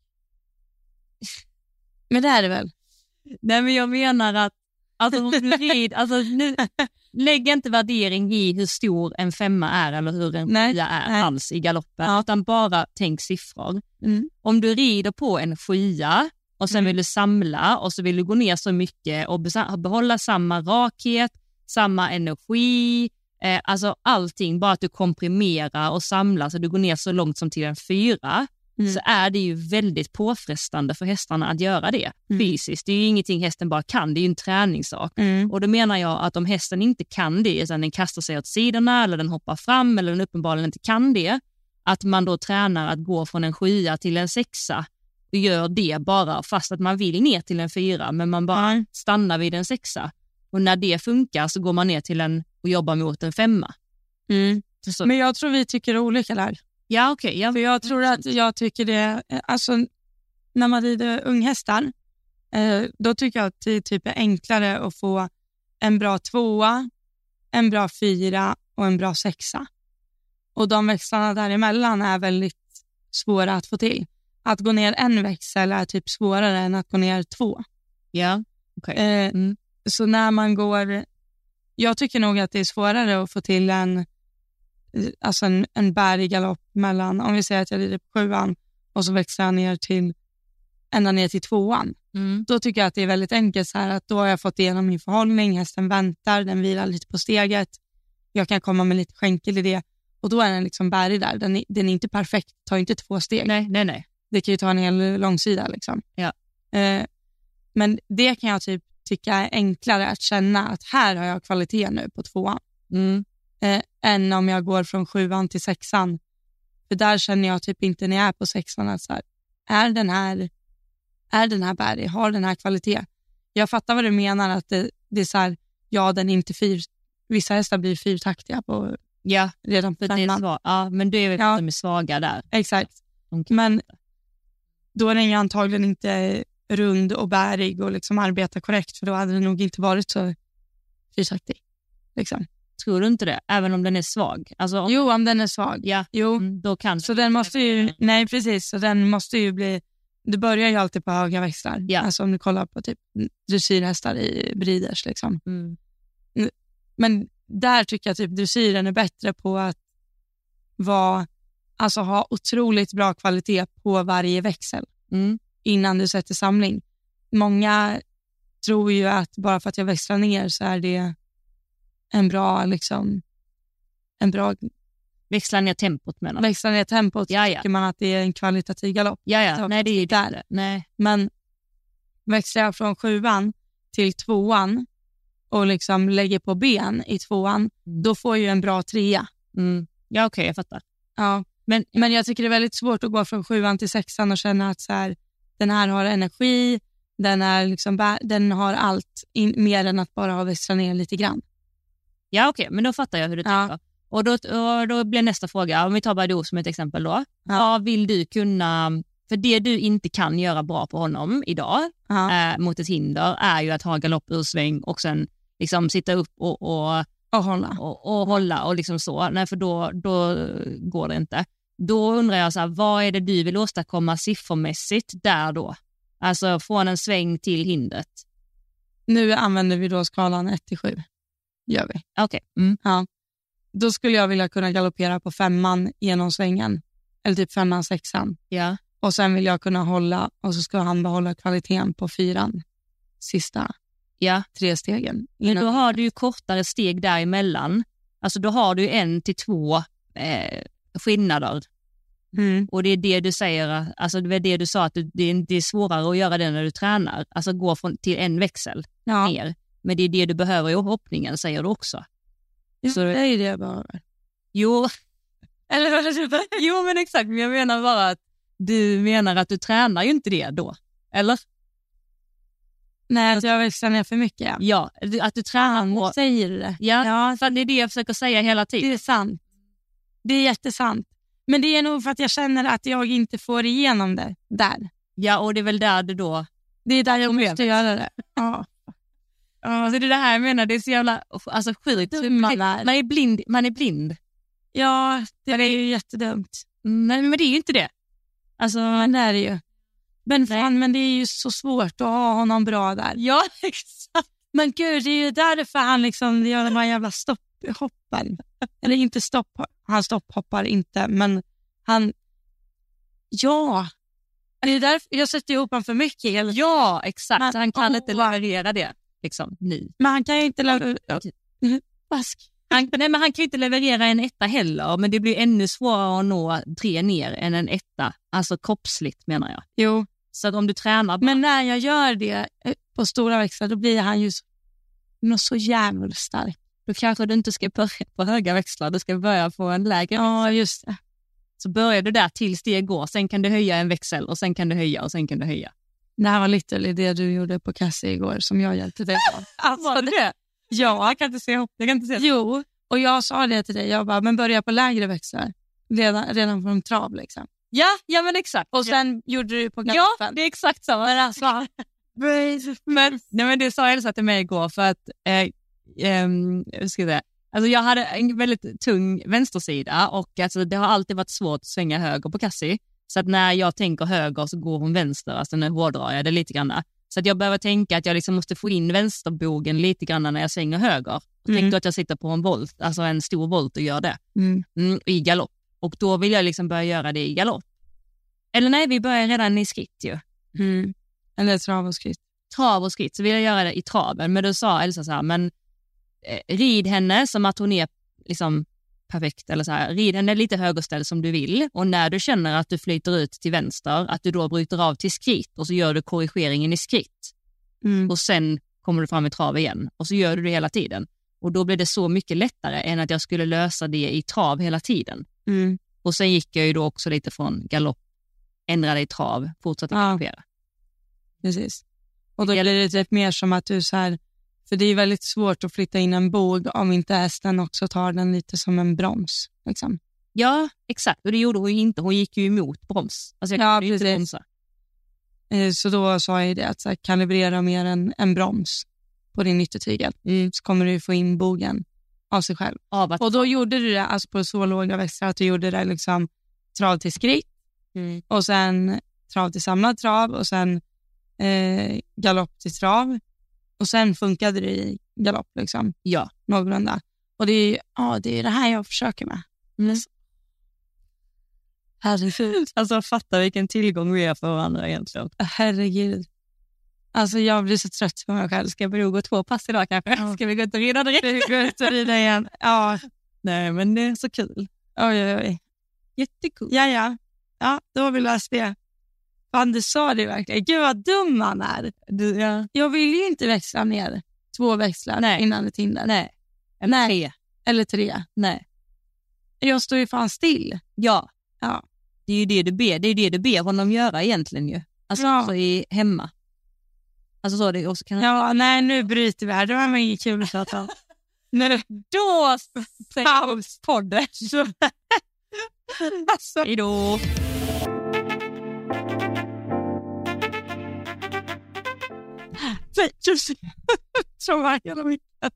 S1: Men det är det väl?
S2: Nej, men jag menar att alltså, om du rid, alltså, nu, lägg inte värdering i hur stor en femma är eller hur en
S1: Nej,
S2: sjua är
S1: nej.
S2: alls i galoppen, utan bara tänk siffror.
S1: Mm.
S2: Om du rider på en sjua och sen
S1: Mm.
S2: vill du samla och så vill du gå ner så mycket och besa- behålla samma rakhet, samma energi, eh, alltså allting, bara att du komprimerar och samlar så du går ner så långt som till en fyra,
S1: Mm.
S2: så är det ju väldigt påfrestande för hästarna att göra det
S1: Mm.
S2: fysiskt. Det är ju ingenting hästen bara kan, det är ju en träningssak.
S1: Mm.
S2: Och då menar jag att om hästen inte kan det, utan den kastar sig åt sidorna eller den hoppar fram eller den uppenbarligen inte kan det, att man då tränar att gå från en sjua till en sexa och gör det bara fast att man vill ner till en fyra men man bara stannar vid en sexa. Och när det funkar så går man ner till en och jobbar mot en femma. Så,
S1: Men jag tror vi tycker olika där.
S2: ja, okej.
S1: För
S2: ja,
S1: jag tror att jag tycker det, alltså när man rider unghästar, eh, då tycker jag att det typ är enklare att få en bra tvåa, en bra fyra och en bra sexa. Och de växlarna däremellan är väldigt svåra att få till. Att gå ner en växel är typ svårare än att gå ner två.
S2: ja, okej.
S1: Eh,
S2: Mm.
S1: Så när man går Jag tycker nog att det är svårare att få till en, eh, alltså en, en bärig galopp mellan, om vi säger att jag rider på sjuan och så växlar jag ner till, ända ner till tvåan.
S2: Mm.
S1: Då tycker jag att det är väldigt enkelt så här att då har jag fått igenom min förhållning, hästen väntar, den vilar lite på steget, jag kan komma med lite skänkel i det och då är den liksom bärig där. Den är, den är inte perfekt, tar inte två steg.
S2: Nej, nej, nej.
S1: Det kan ju ta en hel långsida. Liksom.
S2: Ja.
S1: Eh, men det kan jag typ tycka är enklare att känna att här har jag kvalitet nu på tvåan.
S2: Mm.
S1: Eh, än om jag går från sjuan till sexan. För där känner jag typ inte när jag är på sexan att så här, är den här, är den här bärig, har den här kvalitet? Jag fattar vad du menar att det, det är så här, ja den är inte fyr, vissa hästar blir fyrtaktiga på,
S2: Ja,
S1: redan på
S2: för det är
S1: femman.
S2: svag. Ja, men du är väl
S1: Ja.
S2: att de är svaga där.
S1: Exakt.
S2: De kan-
S1: Men då är den ju antagligen inte rund och bärig och liksom arbetar korrekt för då hade den nog inte varit så fyrtaktig. Liksom.
S2: Tror du inte det? Även om den är svag. Alltså, om,
S1: Jo, om den är svag.
S2: ja,
S1: Jo,
S2: mm, då kan
S1: så den måste ju, nej precis, så den måste ju bli, du börjar ju alltid på höga växlar.
S2: Ja.
S1: Alltså om du kollar på typ dressyrhästar i briders liksom.
S2: Mm.
S1: Men där tycker jag typ dressyren är bättre på att vara, alltså ha otroligt bra kvalitet på varje växel.
S2: Mm.
S1: innan du sätter samling. Många tror ju att bara för att jag växlar ner så är det en bra, liksom, en bra
S2: Växla ner tempot menar du?
S1: växla ner tempot.
S2: Ja, ja.
S1: tycker man att det är en kvalitativ galopp.
S2: Ja,
S1: Så-
S2: ja. Nej, det är ju
S1: där.
S2: där. Nej.
S1: Men växlar jag från sjuan till tvåan och liksom lägger på ben i tvåan, då får jag ju en bra trea.
S2: Mm. Ja, okej, jag fattar.
S1: Ja. Men, men jag tycker det är väldigt svårt att gå från sjuan till sexan och känna att så här, den här har energi, den, är liksom, bä- den har allt in, mer än att bara ha vässat ner lite grann.
S2: Ja, okej, men då fattar jag hur du
S1: Ja.
S2: tänker. Och då, och då blir nästa fråga, om vi tar Badou som ett exempel då. Vad vill du kunna, för det du inte kan göra bra på honom idag
S1: Ja.
S2: eh, mot ett hinder är ju att ha galopp ur sväng och sen liksom sitta upp och, och,
S1: Och hålla.
S2: och, och hålla och liksom så. Nej, för då, då går det inte. Då undrar jag, så här, vad är det du vill åstadkomma siffermässigt där då? Alltså från en sväng till hindret.
S1: Nu använder vi då skalan 1 till 7. Gör vi.
S2: Okej. Mm.
S1: Då skulle jag vilja kunna galoppera på femman genom svängen, eller typ femman, sexan.
S2: Ja.
S1: Och sen vill jag kunna hålla och så ska han behålla kvaliteten på fyran, sista
S2: ja.
S1: tre stegen.
S2: Men då har du ju kortare steg däremellan. Alltså då har du ju en till två eh, skillnader.
S1: Mm.
S2: Och det är det du säger, att- alltså det var det du sa att du, det, är, det är svårare att göra det när du tränar. Alltså gå från, till en växel
S1: Ja.
S2: ner. Men det är det du behöver i hoppningen säger du också.
S1: Så det är ju det jag behöver.
S2: Jo, eller, vad- jo men exakt, men jag menar bara att du menar att du tränar ju inte det då. Eller?
S1: Nej, att jag växlar ner för mycket. Ja.
S2: Ja, du- att du tränar på...
S1: Säger du det?
S2: Ja,
S1: Ja,
S2: för det är det jag försöker säga hela
S1: det
S2: tiden.
S1: är sant. Det är jättesant. Men det är nog för att jag känner att jag inte får igenom det där.
S2: Ja, och det är väl där du då
S1: Det är där jag
S2: Problem.
S1: måste göra det. Ja.
S2: Alltså det är det här jag menar, det är så jävla alltså, sjukt. hur
S1: Dumma
S2: blind-
S1: värld.
S2: Man är blind. Man är blind.
S1: ja, det är ju jättedumt.
S2: Mm, Nej, men det är ju inte det. Alltså,
S1: Men det är det ju. Men fan, men det är ju så svårt att ha honom bra där.
S2: ja, exakt.
S1: Men gud, det är ju därför han liksom gör de här jävla stopphoppen. Eller inte stopp, han stopphoppar inte, men han... Ja! Det är därför jag sätter ihop honom för mycket hela
S2: Ja, exakt.
S1: Men-
S2: Så han kan
S1: åh.
S2: inte leverera det liksom, nu.
S1: Men han kan ju inte lära...
S2: Bask. Han, nej, men han kan ju inte leverera en etta heller, men det blir ännu svårare att nå tre ner än en etta. Alltså kroppsligt menar jag.
S1: Jo.
S2: Så att om du tränar...
S1: Men när jag gör det eh, på stora växlar, då blir han ju så, något så jävligt stark.
S2: då kanske du inte ska börja på höga växlar, du ska börja på en lägre.
S1: Ja, just det.
S2: Så börjar du där tills det går, sen kan du höja en växel och sen kan du höja och sen kan du höja.
S1: Det här var lite det du gjorde på Cassie igår som jag hjälpte dig med.
S2: Alltså, det?
S1: ja,
S2: Jag kan inte se ihop. Jag kan inte se.
S1: Jo, och jag sa det till dig. Jag bara, men börja på lägre växlar. Redan, redan från trav liksom.
S2: Ja, ja men exakt.
S1: Och sen gjorde du på
S2: ja,
S1: galoppen.
S2: det är exakt samma. Men alltså, men, nej, men det sa Elsa till mig igår för att eh, ehm, hur ska jag, säga? alltså, jag hade en väldigt tung vänstersida och alltså, det har alltid varit svårt att svänga höger på Cassie. Så att när jag tänker höger så går hon vänster, alltså nu hårdrar jag det lite grann. Så att jag behöver tänka att jag liksom måste få in vänsterbogen lite grann när jag svänger höger. Och
S1: Mm.
S2: Tänk då att jag sitter på en volt, alltså en stor volt och gör det
S1: Mm.
S2: mm, i galopp. Och då vill jag liksom börja göra det i galopp. Eller nej, vi börjar redan i skritt ju.
S1: Mm. Eller trav och skritt.
S2: Trav och skritt, så vill jag göra det i traven. Men då sa Elsa så här, men eh, rid henne som att hon är liksom perfekt. Eller så här, rid henne lite högerställd som du vill. Och när du känner att du flyter ut till vänster, att du då bryter av till skritt och så gör du korrigeringen i skritt.
S1: Mm.
S2: och sen kommer du fram i trav igen. Och så gör du det hela tiden. Och då blev det så mycket lättare än att jag skulle lösa det i trav hela tiden.
S1: Mm.
S2: Och sen gick jag ju då också lite från galopp, ändrade i trav, fortsatte
S1: Ja.
S2: galoppera.
S1: Precis. Och då blir det typ mer som att du så här, för det är väldigt svårt att flytta in en bog om inte hästen också tar den lite som en broms. Liksom.
S2: Ja, exakt. Och det gjorde hon ju inte. Hon gick ju emot broms. Alltså jag
S1: Ja,
S2: kunde ju inte
S1: precis.
S2: bromsa.
S1: Eh, Så då sa jag ju det, att så här, kalibrera mer en, en broms på din yttertygel
S2: Mm.
S1: så kommer du få in bogen av sig själv.
S2: Av att,
S1: Och då gjorde du det alltså på så låga växlar att du gjorde det liksom trav till skritt
S2: Mm.
S1: och sen trav till samlad trav och sen eh, galopp till trav. Och sen funkade det i galopp liksom,
S2: Ja.
S1: någorlunda. Och det är ju ja, det, är det här jag försöker med.
S2: Mm.
S1: Herregud.
S2: Alltså fatta vilken tillgång vi är för varandra egentligen.
S1: Herregud. Alltså jag blir så trött på mig själv. Ska jag börja gå två pass idag kanske?
S2: Ja.
S1: Ska vi gå ut och rida direkt? Ska vi gå ut och rida igen? Ja,
S2: Nej, men det är så kul.
S1: oj oj oj.
S2: Jättekul.
S1: Ja, ja. Ja, då har vi löst det. Fan, du sa det verkligen. Gud vad dum man är.
S2: Du, ja.
S1: Jag vill ju inte växla ner två växlar
S2: Nej.
S1: innan ett hinder.
S2: Nej. Nej.
S1: Eller tre.
S2: Nej.
S1: Jag står ju fan still.
S2: Ja.
S1: Ja.
S2: Det är ju det du ber, det är ju det du ber honom göra egentligen ju. Alltså
S1: Ja.
S2: också i hemma. Alltså så det också kan...
S1: Ja, nej nu bryter vi här. Det här var inget kul att prata om. Nu,
S2: Då
S1: paus!
S2: podden.
S1: Alltså.
S2: Hejdå.
S1: Nej, just Trauma hela veckan.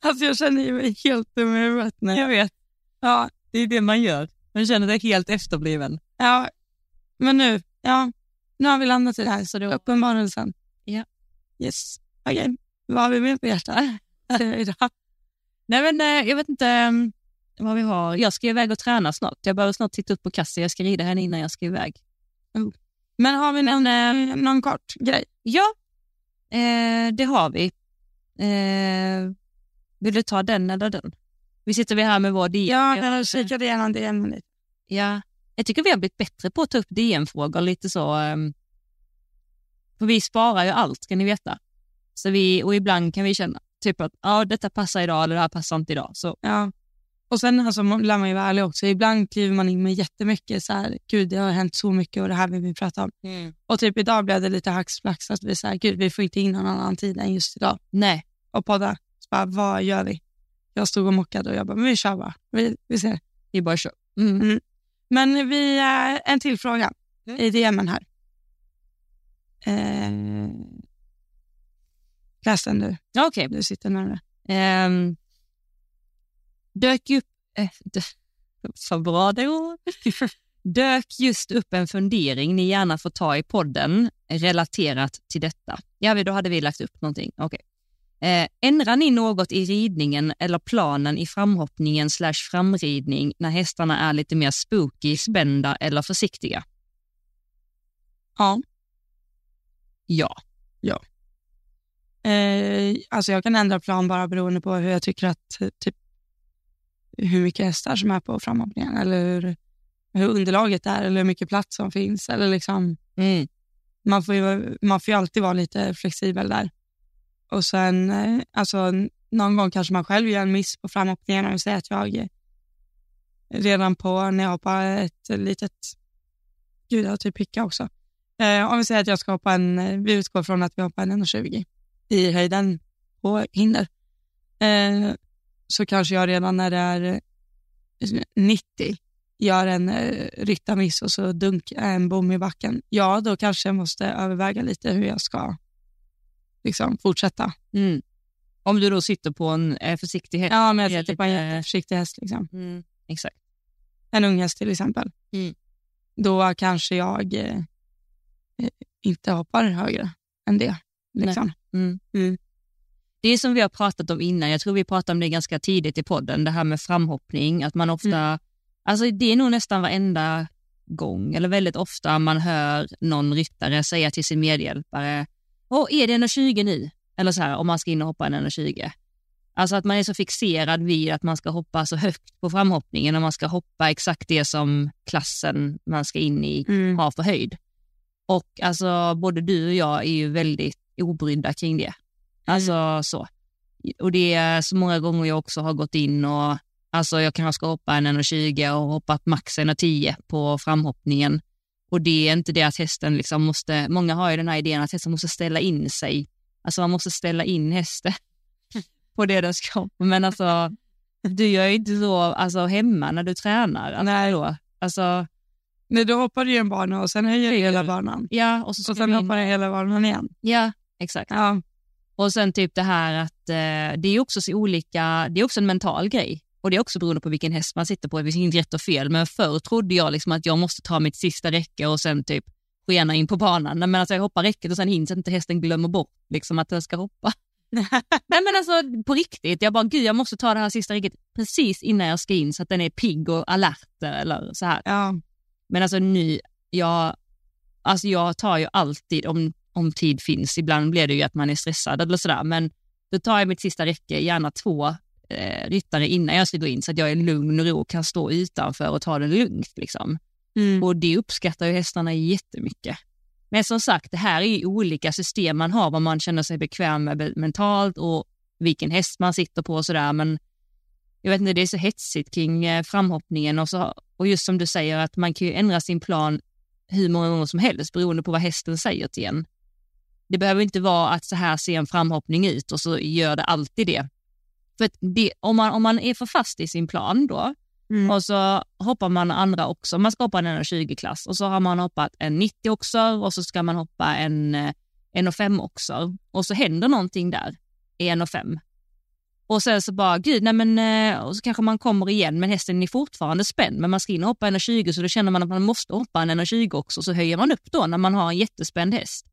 S1: Alltså jag känner ju mig helt dum i huvudet nu.
S2: Jag vet,
S1: Ja,
S2: det är det man gör. Man känner sig helt efterbliven.
S1: ja. Men nu, ja. Nu har vi landat i det här, så det var uppenbarelsen.
S2: Ja.
S1: Yes. Okej, vad har vi mer på hjärtat? Idag.
S2: Nej men eh, jag vet inte ehm, vad vi har. Jag ska iväg och träna snart. Jag behöver snart titta upp på Cassie. Jag ska rida henne innan jag ska iväg.
S1: Men har vi någon, eh, någon kort grej?
S2: Ja, eh, det har vi. Eh, vill du ta den eller den? Vi sitter vi här med vår DM.
S1: Ja, jag kikade igenom det en minut.
S2: Ja. Jag tycker vi har blivit bättre på att ta upp DN-frågor lite så. ehm, för vi sparar ju allt, ska ni veta. Så vi, och ibland kan vi känna typ att ja, detta passar idag eller det här passar inte idag. Så
S1: Ja. Och sen alltså, man- lär man ju vara ärlig också. Ibland kliver man in med jättemycket så här, gud det har hänt så mycket och det här vill vi prata om. Och typ idag blev det lite hacksplax att vi så här, gud vi får inte in någon annan tid än just idag
S2: nej,
S1: och podda. Så bara, vad gör vi? Jag stod och mockade och jag bara, men vi kör bara. Vi, vi ser.
S2: vi bara kör. Mm.
S1: Men vi, eh, en till fråga
S2: Mm.
S1: i DMen här. Eh, läs den du,
S2: Ja, Okej.
S1: du sitter närmare.
S2: Ehm, dök ju upp... eh, dö- Så bra det ord. Dök just upp en fundering ni gärna får ta i podden relaterat till detta. Ja, vi- då hade vi lagt upp någonting. Okej. Eh, ändrar ni något i ridningen eller planen i framhoppningen slash framridning när hästarna är lite mer spooky, spända eller försiktiga?
S1: Ja.
S2: Ja.
S1: Eh, alltså jag kan ändra plan bara beroende på hur jag tycker att eh, typ, hur mycket hästar som är på framhoppningen eller hur, hur underlaget är eller hur mycket plats som finns. Eller liksom,
S2: Mm.
S1: man, får ju, man får ju alltid vara lite flexibel där. Och sen, eh, alltså, n- någon gång kanske man själv gör en miss på framhoppningen och säger att jag eh, redan på när jag hoppar ett litet, gud jag har typ picka också. Eh, om vi säger att jag ska hoppa en, eh, vi utgår från att vi hoppar en 1,20 i höjden på hinder. Eh, så kanske jag redan när det är eh, 90 gör en eh, ryttarmiss och så dunkar jag en bom i backen. Ja, då kanske jag måste överväga lite hur jag ska liksom, fortsätta.
S2: Mm. Om du då sitter på en eh, Mm. försiktig häst.
S1: Ja, men jag
S2: Det är
S1: sitter på en
S2: lite-
S1: jätteförsiktig häst. Liksom.
S2: Exakt.
S1: en ung häst till exempel,
S2: Mm.
S1: då kanske jag eh, eh, inte hoppar högre än det. Liksom.
S2: Mm.
S1: Mm.
S2: Det är som vi har pratat om innan, jag tror vi pratade om det ganska tidigt i podden, det här med framhoppning, att man ofta, alltså det är nog nästan varenda gång, eller väldigt ofta man hör någon ryttare säga till sin medhjälpare, åh är det 1,20 nu? Eller så här, om man ska in och hoppa en 1,20. Alltså att man är så fixerad vid att man ska hoppa så högt på framhoppningen och man ska hoppa exakt det som klassen man ska in i
S1: Mm.
S2: har för höjd. Och alltså, både du och jag är ju väldigt obrydda kring det. Alltså så. Och det är så många gånger jag också har gått in och alltså jag kanske ska hoppa en 1,20 och hoppat max 1,10 på framhoppningen. Och det är inte det att hästen liksom måste, många har ju den här idén att hästen måste ställa in sig. Alltså man måste ställa in hästen på det den ska hoppa. Men alltså, du gör ju inte så alltså, hemma när du tränar. Alltså,
S1: Nej.
S2: Då. Alltså,
S1: Nej, då hoppar du ju en bana och sen höjer du hela banan.
S2: ja, och så ska
S1: Och sen
S2: du in.
S1: hoppar du hela banan igen.
S2: Ja, exakt.
S1: Ja,
S2: Och sen typ det här att eh, det är också så olika, det är också en mental grej. Och det är också beroende på vilken häst man sitter på, det finns inget rätt och fel. Men förr trodde jag liksom att jag måste ta mitt sista räcke och sen typ skena in på banan. Nej, Men alltså jag hoppar räcket och sen hinns inte hästen glömmer bort liksom att den ska hoppa. Nej men alltså på riktigt, jag bara gud jag måste ta det här sista räcket precis innan jag ska in så att den är pigg och alert eller så här.
S1: ja.
S2: Men alltså nu, jag, alltså jag tar ju alltid, om, om tid finns, ibland blir det ju att man är stressad eller sådär, men då tar jag mitt sista räcke, gärna två eh, ryttare innan jag ska gå in så att jag är lugn och ro och kan stå utanför och ta det lugnt. Liksom.
S1: Mm.
S2: Och det uppskattar ju hästarna jättemycket. Men som sagt, det här är ju olika system man har, vad man känner sig bekväm med be- mentalt och vilken häst man sitter på och sådär. Men jag vet inte, det är så hetsigt kring eh, framhoppningen och, så, och just som du säger att man kan ju ändra sin plan hur många gånger som helst beroende på vad hästen säger till en. Det behöver inte vara att så här ser en framhoppning ut och så gör det alltid det. För att det, om, man, om man är för fast i sin plan då,
S1: Mm.
S2: och så hoppar man andra också. Man ska hoppa en 20-klass och så har man hoppat en 90 också och så ska man hoppa en, eh, 1,5 också. Och så händer någonting där i 1,5. Och sen så bara, gud, nej men, eh, och så kanske man kommer igen men hästen är fortfarande spänd men man ska in och hoppa en 20 så då känner man att man måste hoppa en 20 också så höjer man upp då när man har en jättespänd häst.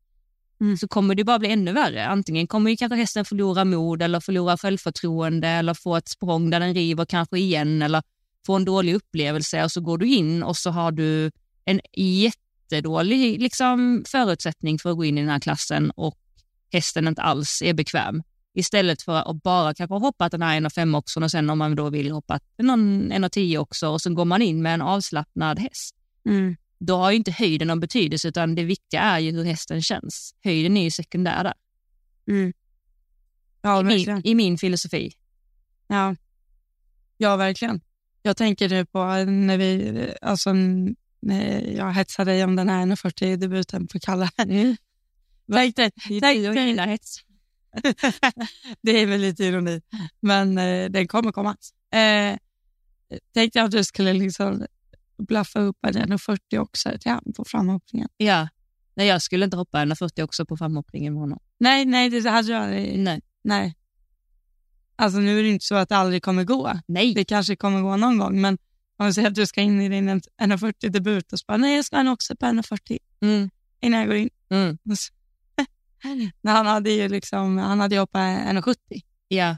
S1: Mm.
S2: Så kommer det bara bli ännu värre. Antingen kommer ju kanske hästen förlora mod eller förlora självförtroende eller få ett språng där den river kanske igen eller få en dålig upplevelse och så går du in och så har du en jättedålig liksom, förutsättning för att gå in i den här klassen och hästen inte alls är bekväm. Istället för att bara kanske ha hoppat den här 1,5 också och sen om man då vill hoppa någon 1,10 också och sen går man in med en avslappnad häst.
S1: Mm.
S2: Då har ju inte höjden någon betydelse utan det viktiga är ju hur hästen känns. Höjden är ju sekundär där,
S1: Ja,
S2: i,
S1: verkligen.
S2: i min filosofi.
S1: Ja. ja, verkligen. Jag tänker nu på eh, när vi, alltså när jag hetsade dig om den här 140-debuten på Kalle. Tänk dig, tänk
S2: du och
S1: dig-
S2: dina hets.
S1: det är väl lite ironi, men eh, den kommer komma. Eh, tänkte jag att du skulle liksom blaffa upp en 140 också till han på framhoppningen.
S2: Ja. Nej, jag skulle inte hoppa 1,40 också på framhoppningen med honom.
S1: Nej, nej, det hade jag aldrig-
S2: Nej.
S1: Nej. Alltså nu är det inte så att det aldrig kommer gå.
S2: Nej.
S1: Det kanske kommer gå någon gång, men om vi säger att du ska in i din 140-debut och så bara, nej jag ska nog också på 140
S2: Mm.
S1: innan jag går in.
S2: Mm.
S1: Och så- Nej, han hade ju liksom, han hade ju hoppat 170.
S2: Ja.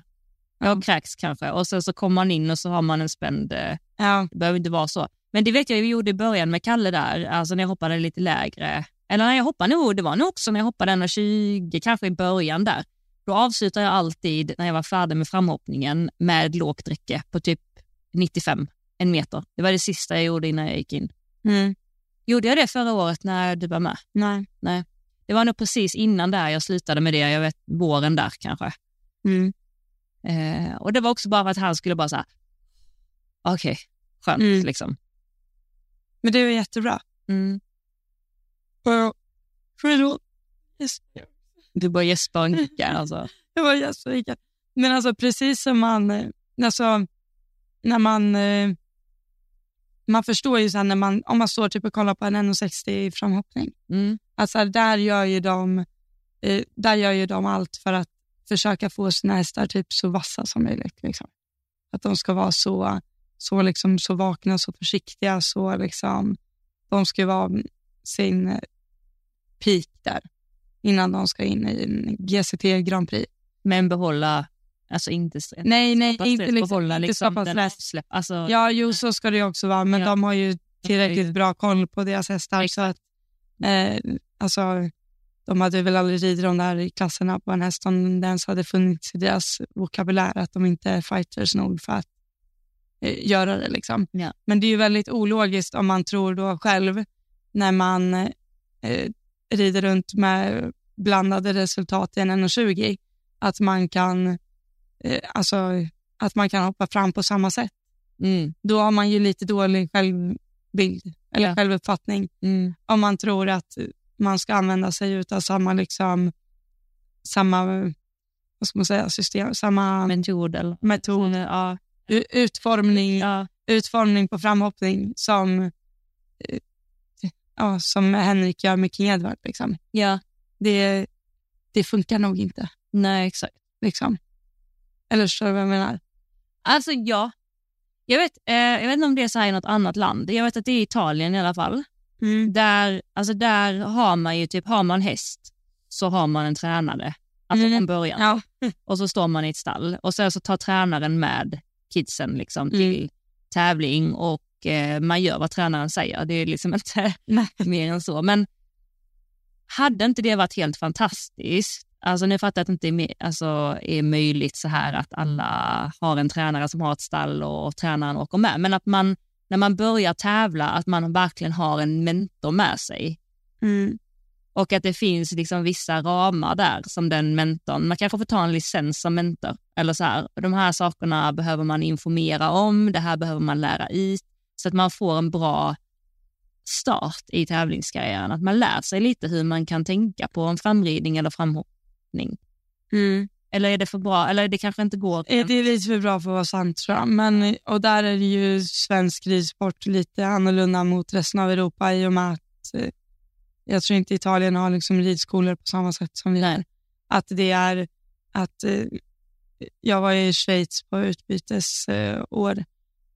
S2: Ja, kräks kanske. Och sen så kommer man in och så har man en spänd... eh,
S1: Ja,
S2: Det behöver inte vara så. Men det vet jag vi gjorde i början med Kalle där, alltså när jag hoppade lite lägre. Eller när jag hoppade nog, det var nog också när jag hoppade 1,20 kanske i början där. Då avslutade jag alltid, när jag var färdig med framhoppningen, med lågt räcke på typ 95, en meter. Det var det sista jag gjorde innan jag gick in.
S1: mm.
S2: Gjorde jag det förra året när du var med?
S1: nej.
S2: Det var nog precis innan där jag slutade med det, jag vet våren där kanske.
S1: Mm.
S2: Eh, och det var också bara för att han skulle bara så här, okej, skönt
S1: Mm.
S2: liksom.
S1: Men det är jättebra.
S2: Mm.
S1: Och- Förlåt. Yes.
S2: Du börjar gäspa och nicka alltså.
S1: Jag var jättesugen. Men alltså precis som man, eh, alltså när man, eh, man förstår ju sen när man, om man står typ och kollar på en 160 framhoppning.
S2: Mm.
S1: Alltså där gör ju de, eh, där gör ju de allt för att försöka få sina hästar typ så vassa som möjligt. Liksom. Att de ska vara så, så, liksom, så vakna, så försiktiga, så liksom, de ska ju vara sin eh, peak där. innan de ska in i en GCT Grand Prix.
S2: Men behålla, alltså inte stress.
S1: Nej, nej,
S2: Skapa
S1: inte
S2: stress,
S1: liksom,
S2: behålla
S1: inte
S2: liksom
S1: skapa
S2: den
S1: stress.
S2: avsläpp- Alltså,
S1: Ja, jo, så ska det ju också vara, men
S2: Ja.
S1: de har ju tillräckligt
S2: ju-
S1: bra koll på deras hästar. Så att, eh, alltså, de hade väl aldrig ridit de där i klasserna på en häst om det ens hade funnits i deras vokabulär att de inte är fighters nog för att eh, göra det. Liksom.
S2: Ja.
S1: Men det är ju väldigt ologiskt om man tror då själv när man eh, rider runt med blandade resultat i en 1,20 att man kan eh, alltså, att man kan hoppa fram på samma sätt
S2: Mm,
S1: då har man ju lite dålig självbild eller
S2: Ja.
S1: självuppfattning
S2: mm,
S1: om man tror att man ska använda sig av samma, liksom, samma vad ska man säga, system, samma
S2: metod eller...
S1: metod,
S2: Ja,
S1: u- utformning,
S2: ja,
S1: utformning på framhoppning som, eh, ja, som Henrik gör med King Edward. Liksom.
S2: ja,
S1: Det, det funkar nog inte.
S2: nej exakt.
S1: Liksom. Eller förstår du vad jag menar?
S2: Alltså ja, jag vet, eh, jag vet inte om det är så här i något annat land. Jag vet att det är Italien i alla fall.
S1: Mm.
S2: Där, alltså där har man ju typ, har man häst så har man en tränare. Alltså
S1: Mm.
S2: från början.
S1: Ja.
S2: Och så står man i ett stall och sen så tar tränaren med kidsen liksom till
S1: Mm.
S2: tävling och eh, man gör vad tränaren säger. Det är liksom inte
S1: Nej.
S2: mer än så. Men hade inte det varit helt fantastiskt? Alltså nu fattar jag att det inte är, me- alltså, är möjligt så här att alla har en tränare som har ett stall och, och tränaren åker med. Men att man när man börjar tävla att man verkligen har en mentor med sig.
S1: Mm.
S2: Och att det finns liksom vissa ramar där som den mentorn, man kanske får ta en licens som mentor. Eller så här, de här sakerna behöver man informera om, det här behöver man lära ut. Så att man får en bra start i tävlingskarriären. Att man lär sig lite hur man kan tänka på en framridning eller framhoppning.
S1: Mm.
S2: Eller är det för bra, eller det kanske inte går.
S1: Eh, Det är lite för bra för att vara sant tror jag. Men, och där är det ju svensk ridsport lite annorlunda mot resten av Europa i och med att eh, jag tror inte Italien har liksom ridskolor på samma sätt som vi har. Att det är att eh, jag var i Schweiz på utbytesår eh, år.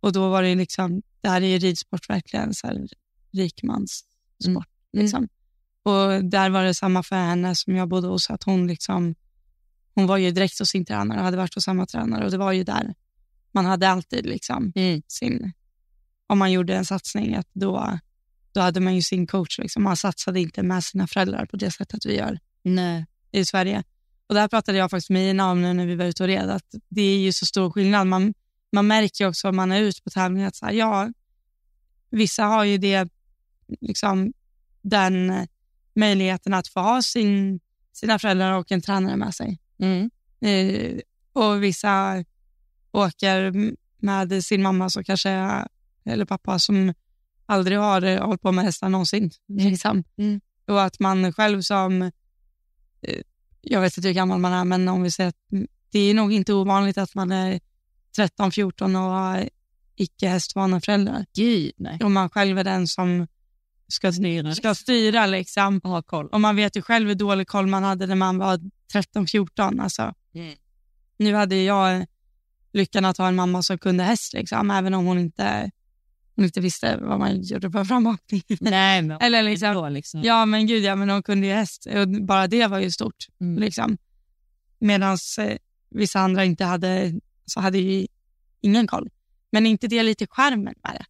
S1: och då var det ju liksom, det här är ju ridsport verkligen, så här, rikmans sport. Liksom. Och där var det samma för henne som jag bodde hos, att hon liksom hon var ju direkt hos sin tränare och hade varit hos samma tränare och det var ju där man hade alltid liksom
S2: Mm.
S1: sin, om man gjorde en satsning, att då, då hade man ju sin coach. Liksom. Man satsade inte med sina föräldrar på det sättet vi gör
S2: Nej.
S1: i Sverige. Och där pratade jag faktiskt med Ina om nu när vi var ute och red, att det är ju så stor skillnad. Man, man märker ju också om man är ute på tävlingar att så här, ja, vissa har ju det, liksom, den möjligheten att få ha sin, sina föräldrar och en tränare med sig.
S2: Mm.
S1: Eh, och vissa åker m- med sin mamma så kanske, eller pappa som aldrig har eh, hållit på med hästar någonsin. Liksom.
S2: Mm.
S1: Och att man själv som, eh, jag vet inte hur gammal man är, men om vi säger att mm, det är nog inte ovanligt att man är 13-14 och har icke hästvana föräldrar.
S2: Gud, nej.
S1: Och man själv är den som ska,
S2: Styra.
S1: ska styra. Liksom.
S2: ha koll.
S1: Och man vet ju själv hur dålig koll man hade när man var 13-14. Alltså.
S2: Mm.
S1: Nu hade jag lyckan att ha en mamma som kunde häst, liksom, även om hon inte, hon inte visste vad man gjorde på framhoppning.
S2: Nej, men
S1: Eller
S2: det är
S1: liksom,
S2: då liksom.
S1: ja men gud ja, men hon kunde ju häst. Och bara det var ju stort.
S2: Mm.
S1: Liksom. Medan eh, vissa andra inte hade, så hade ju ingen koll. Men inte det lite skärmen med det?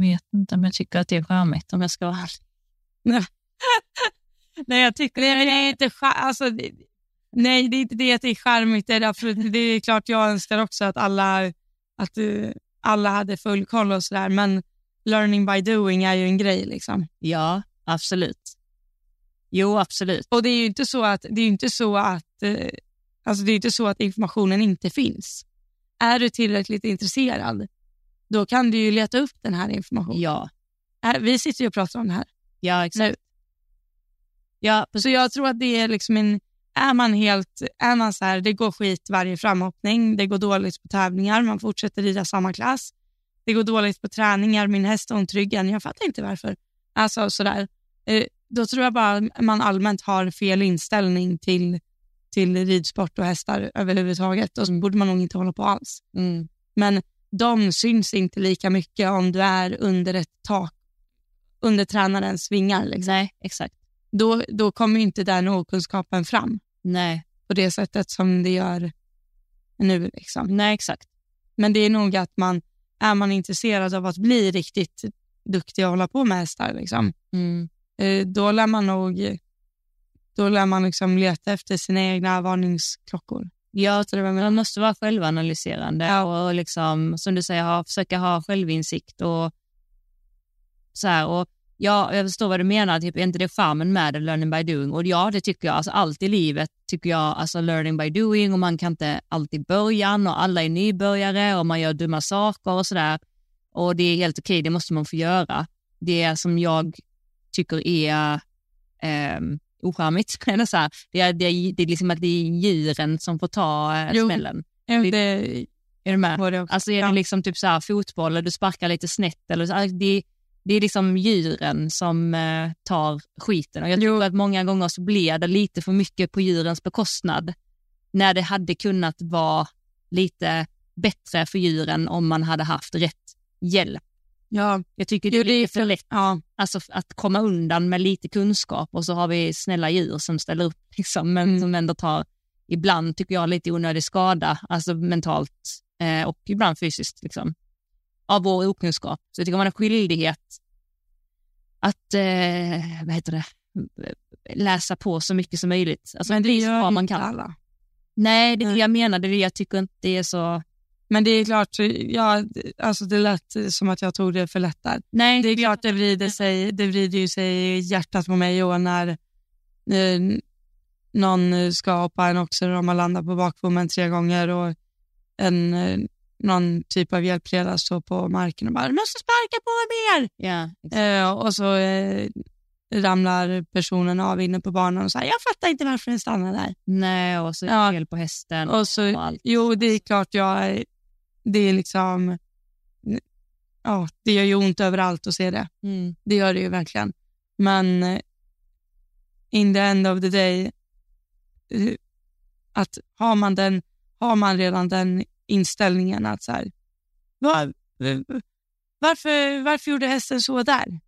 S2: vet inte om jag tycker att det är charmigt om jag ska vara ärlig.
S1: Nej, jag tycker nej, men det. Är inte skär, alltså, det nej, det är inte det att det är charmigt. Det är, absolut, det är klart jag önskar också att alla, att, eh, alla hade full koll och sådär, men learning by doing är ju en grej. Liksom.
S2: Ja, absolut. Jo, absolut.
S1: Och det är ju inte så att, det är ju inte så att, eh, alltså, det är ju inte så att informationen inte finns. Är du tillräckligt intresserad, då kan du ju leta upp den här informationen.
S2: Ja,
S1: Här- Vi sitter ju och pratar om det här.
S2: ja exakt. Ja,
S1: Så jag tror att det är liksom en... Är man helt... Är man så här, det går skit varje framhoppning, det går dåligt på tävlingar, man fortsätter rida samma klass. Det går dåligt på träningar, min häst är otrygg än, jag fattar inte varför. Alltså sådär. Eh, Då tror jag bara man allmänt har fel inställning till, till ridsport och hästar överhuvudtaget. Då borde man nog inte hålla på alls.
S2: mm,
S1: Men de syns inte lika mycket om du är under ett tak, under tränarens vingar. Liksom.
S2: nej, exakt.
S1: då, då kommer ju inte den okunskapen fram
S2: Nej,
S1: på det sättet som det gör nu. Liksom.
S2: nej exakt.
S1: Men det är nog att man, är man intresserad av att bli riktigt duktig och hålla på med hästar, liksom,
S2: Mm.
S1: eh, då lär man nog då lär man liksom leta efter sina egna varningsklockor.
S2: Ja, så det var- man måste vara självanalyserande
S1: Ja.
S2: och liksom, som du säger, ha, försöka ha självinsikt. och så här, och ja, Jag förstår vad du menar, typ, är inte det charmen med learning by doing? Och ja, det tycker jag. Alltså, allt i livet tycker jag, alltså learning by doing och man kan inte alltid början och alla är nybörjare och man gör dumma saker och sådär. Och det är helt okej, det måste man få göra. Det som jag tycker är ehm, ocharmigt. Eller så här, det, är, det, är, det är liksom att det är djuren som får ta eh,
S1: Jo.
S2: smällen.
S1: Eh,
S2: Det-
S1: Det
S2: Är du med?
S1: var det också.
S2: Alltså är
S1: Ja.
S2: det liksom typ så här fotboll och du sparkar lite snett eller så, alltså, det, det är liksom djuren som eh, tar skiten. Och jag tror att många gånger så blir det lite för mycket på djurens bekostnad. När det hade kunnat vara lite bättre för djuren om man hade haft rätt hjälp.
S1: Ja,
S2: Jag tycker det
S1: Jo,
S2: är
S1: det är
S2: lite för lätt
S1: ja,
S2: alltså f- att komma undan med lite kunskap och så har vi snälla djur som ställer upp liksom, men
S1: Mm.
S2: som ändå tar ibland tycker jag lite onödig skada, alltså mentalt eh, och ibland fysiskt liksom, av vår okunskap. Så jag tycker man har skyldighet att eh, vad heter det? läsa på så mycket som möjligt. Alltså,
S1: men det
S2: precis
S1: gör
S2: vad
S1: man
S2: man
S1: inte
S2: kan.
S1: alla.
S2: Nej, det är det
S1: Nej.
S2: jag menar. Det är det jag tycker inte det är så...
S1: Men det är klart, ja, alltså det lät som att jag tog det för lätt där.
S2: Nej,
S1: Det är klart det vrider, sig, det vrider ju sig i hjärtat på mig och när eh, någon eh, ska hoppa en oxer och man landar på bakbommen tre gånger och en, eh, någon typ av hjälpreda står på marken och bara “du måste sparka på mer”.
S2: ja, exakt.
S1: Eh, och så eh, ramlar personen av inne på banan och säger “jag fattar inte varför den stannar där”.
S2: nej och så är det
S1: Ja.
S2: fel på hästen
S1: Och så-
S2: och allt.
S1: Jo, det är klart jag... är- Det är liksom... Ja, det gör ju ont överallt att se det.
S2: Mm.
S1: Det gör det ju verkligen. Men eh, in the end of the day, eh, att har man, den, har man redan den inställningen att så här, var, varför, varför gjorde hästen så där?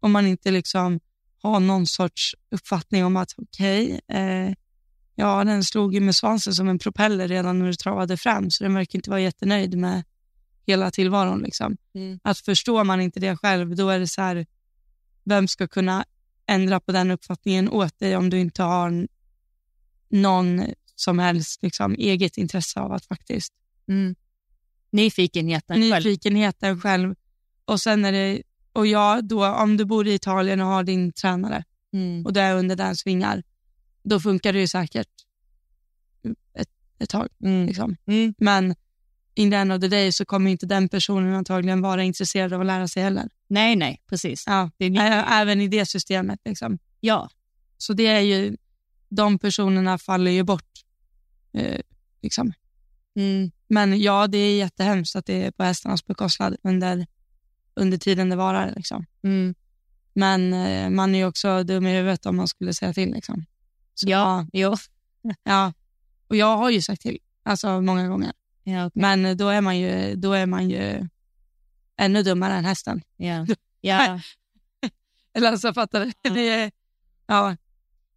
S1: Om man inte liksom har någon sorts uppfattning om att okej, eh, ja den slog ju med svansen som en propeller redan när du travade fram så den verkar inte vara jättenöjd med hela tillvaron. Liksom att förstår man inte det själv, då är det så här, vem ska kunna ändra på den uppfattningen åt dig om du inte har n- någon som helst liksom, eget intresse av att faktiskt
S2: Mm. Nyfikenheten själv.
S1: nyfikenheten själv. Och sen är det, och ja, då, om du bor i Italien och har din tränare
S2: Mm.
S1: och du är under dens vingar, då funkar det ju säkert ett, ett tag.
S2: Mm.
S1: Liksom.
S2: Mm.
S1: Men in the end of the day så kommer inte den personen antagligen vara intresserad av att lära sig heller.
S2: Nej, nej, precis.
S1: Ja, ä- även i det systemet. Liksom.
S2: Ja,
S1: Så det är ju, de personerna faller ju bort. Eh, liksom.
S2: mm.
S1: Men ja, det är jättehemskt att det är på hästarnas bekostnad under, under tiden det varar. Liksom.
S2: Mm.
S1: Men eh, man är ju också dum i huvudet om man skulle säga till. Liksom. Så,
S2: ja, jo.
S1: ja. Och jag har ju sagt till, alltså många gånger.
S2: Ja, okej.
S1: Men eh, då är man ju, då är man ju ännu dummare än hästen.
S2: ja. ja.
S1: Eller alltså fattar du? Det är, ja,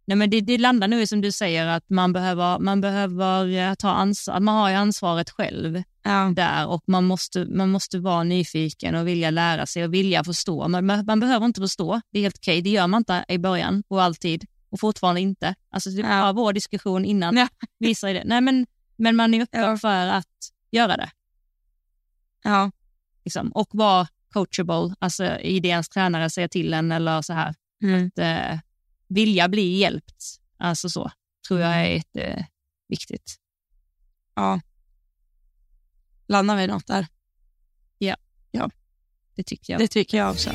S2: Nej, men det, det landar nu i som du säger att man behöver, man behöver eh, ta ansvar, man har ju ansvaret själv
S1: ja,
S2: där och man måste, man måste vara nyfiken och vilja lära sig och vilja förstå. Man, man, man behöver inte förstå, det är helt okej, det gör man inte i början och alltid och fortfarande inte. Alltså det
S1: Ja.
S2: var vår diskussion innan
S1: Ja.
S2: visar ju det. Nej, men, men man är öppen för att göra det.
S1: ja,
S2: liksom, och vara coachable, alltså i det ens tränare säger till en eller så här.
S1: mm,
S2: Att, eh, vilja bli hjälpt, alltså så, tror jag är eh, jätteviktigt.
S1: ja. Landar vi i något där?
S2: Det tycker jag.
S1: Det tycker jag också.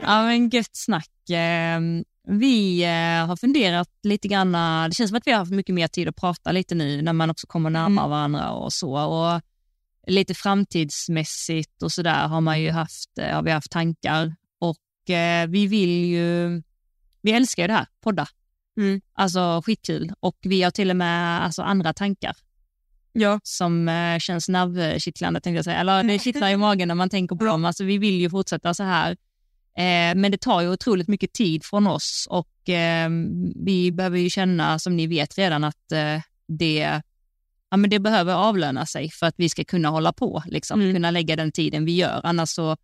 S2: Ja, men gött snack. Eh, vi eh, har funderat lite grann, eh, det känns som att vi har haft mycket mer tid att prata lite nu när man också kommer närmare
S1: Mm.
S2: varandra och så. Och lite framtidsmässigt och sådär har man ju haft, eh, har vi haft tankar och eh, vi vill ju, vi älskar ju det här, podda.
S1: Mm.
S2: Alltså skitkul och vi har till och med alltså, andra tankar
S1: Ja.
S2: som eh, känns nervkittlande tänkte jag säga. Eller det kittlar i magen när man tänker på dem. Alltså, vi vill ju fortsätta så här. Eh, men det tar ju otroligt mycket tid från oss och eh, vi behöver ju känna, som ni vet redan, att eh, det, ja, men det behöver avlöna sig för att vi ska kunna hålla på, liksom,
S1: Mm.
S2: kunna lägga den tiden vi gör. Annars så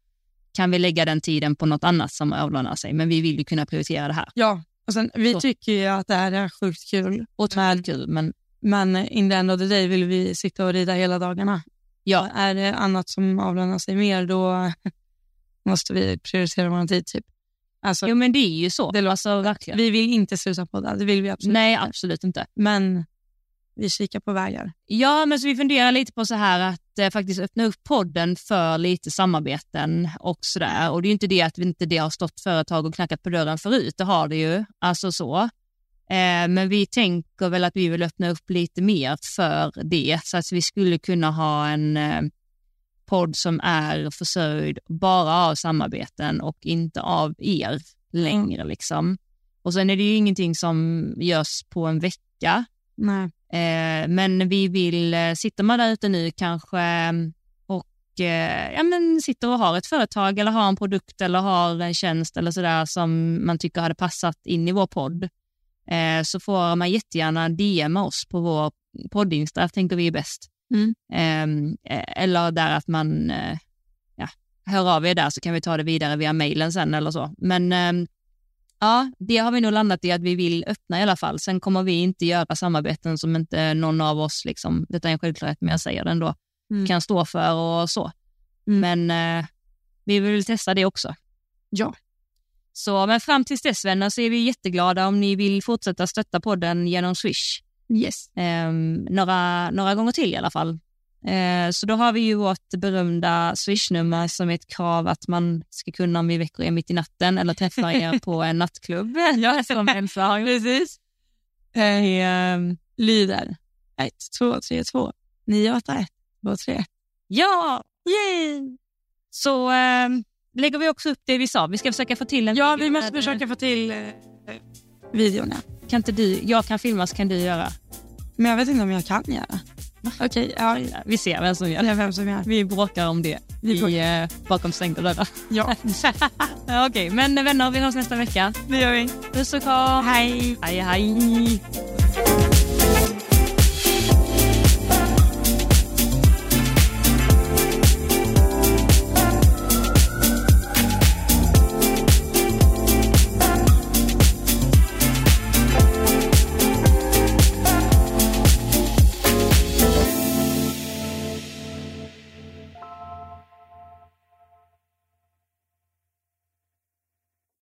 S2: kan vi lägga den tiden på något annat som avlönar sig, men vi vill ju kunna prioritera det här.
S1: ja. Och sen, vi
S2: Så.
S1: tycker ju att det här är sjukt kul,
S2: Och men, kul, men
S1: men in the end of the day vill vi sitta och rida hela dagarna.
S2: Ja.
S1: Är det annat som avlönar sig mer, då måste vi prioritera vår tid. Typ. Alltså,
S2: jo, men det är ju så.
S1: Det låter-
S2: alltså, verkligen.
S1: vi vill inte sluta podda, det vill vi absolut
S2: Nej,
S1: inte.
S2: absolut inte.
S1: Men vi kikar på vägar.
S2: Ja, men så vi funderar lite på så här att eh, faktiskt öppna upp podden för lite samarbeten och sådär. Och det är ju inte det att vi inte det har stått företag och knackat på dörren förut, det har det ju. Alltså så. Eh, men vi tänker väl att vi vill öppna upp lite mer för det så att vi skulle kunna ha en eh, podd som är försörjd bara av samarbeten och inte av er längre liksom. Och sen är det ju ingenting som görs på en vecka.
S1: Nej.
S2: Eh, men vi vill, eh, sitter man där ute nu kanske eh, och eh, ja, men sitter och har ett företag eller har en produkt eller har en tjänst eller sådär som man tycker hade passat in i vår podd eh, så får man jättegärna DMa oss på vår poddinsta, tänker vi är bäst.
S1: Mm.
S2: Ehm, Eh, eller där att man eh, ja, hör av er där så kan vi ta det vidare via mejlen sen eller så. Men ehm, ja, det har vi nog landat i att vi vill öppna i alla fall. Sen kommer vi inte göra samarbeten som inte någon av oss, liksom, detta är en självklarhet men jag säger den då,
S1: Mm.
S2: kan stå för och så.
S1: Mm.
S2: Men eh, vi vill testa det också.
S1: Ja.
S2: Så, men fram tills dess vänner så är vi jätteglada om ni vill fortsätta stötta podden genom Swish.
S1: Yes.
S2: Ehm, några, några gånger till i alla fall. Eh, så då har vi ju vårt berömda Swish-nummer som är ett krav att man ska kunna om vi väcker er mitt i natten eller träffar er på en nattklubb. ja, som Elsa har gjort.
S1: Precis. Eh, lyder 1, 2, 3, 2, 9, 8, 1, 2, 3.
S2: Ja! Yay! Så ehm, lägger vi också upp det vi sa. Vi ska försöka få till en...
S1: Ja, vi måste försöka få till eh, videon. Ja.
S2: Kan inte du... Jag kan filma så kan du göra.
S1: Men jag vet inte om jag kan göra. Okej, ja,
S2: Ja, Vi ser vem som gör
S1: det
S2: det.
S1: är vem som gör.
S2: Vi bråkar om det
S1: Vi bråkar.
S2: i, eh, bakom stängda dörrar.
S1: Ja,
S2: Ja, Okej, men vänner, vi hörs nästa vecka.
S1: det gör vi.
S2: Puss och kram!
S1: Hej!
S2: Hej, hej!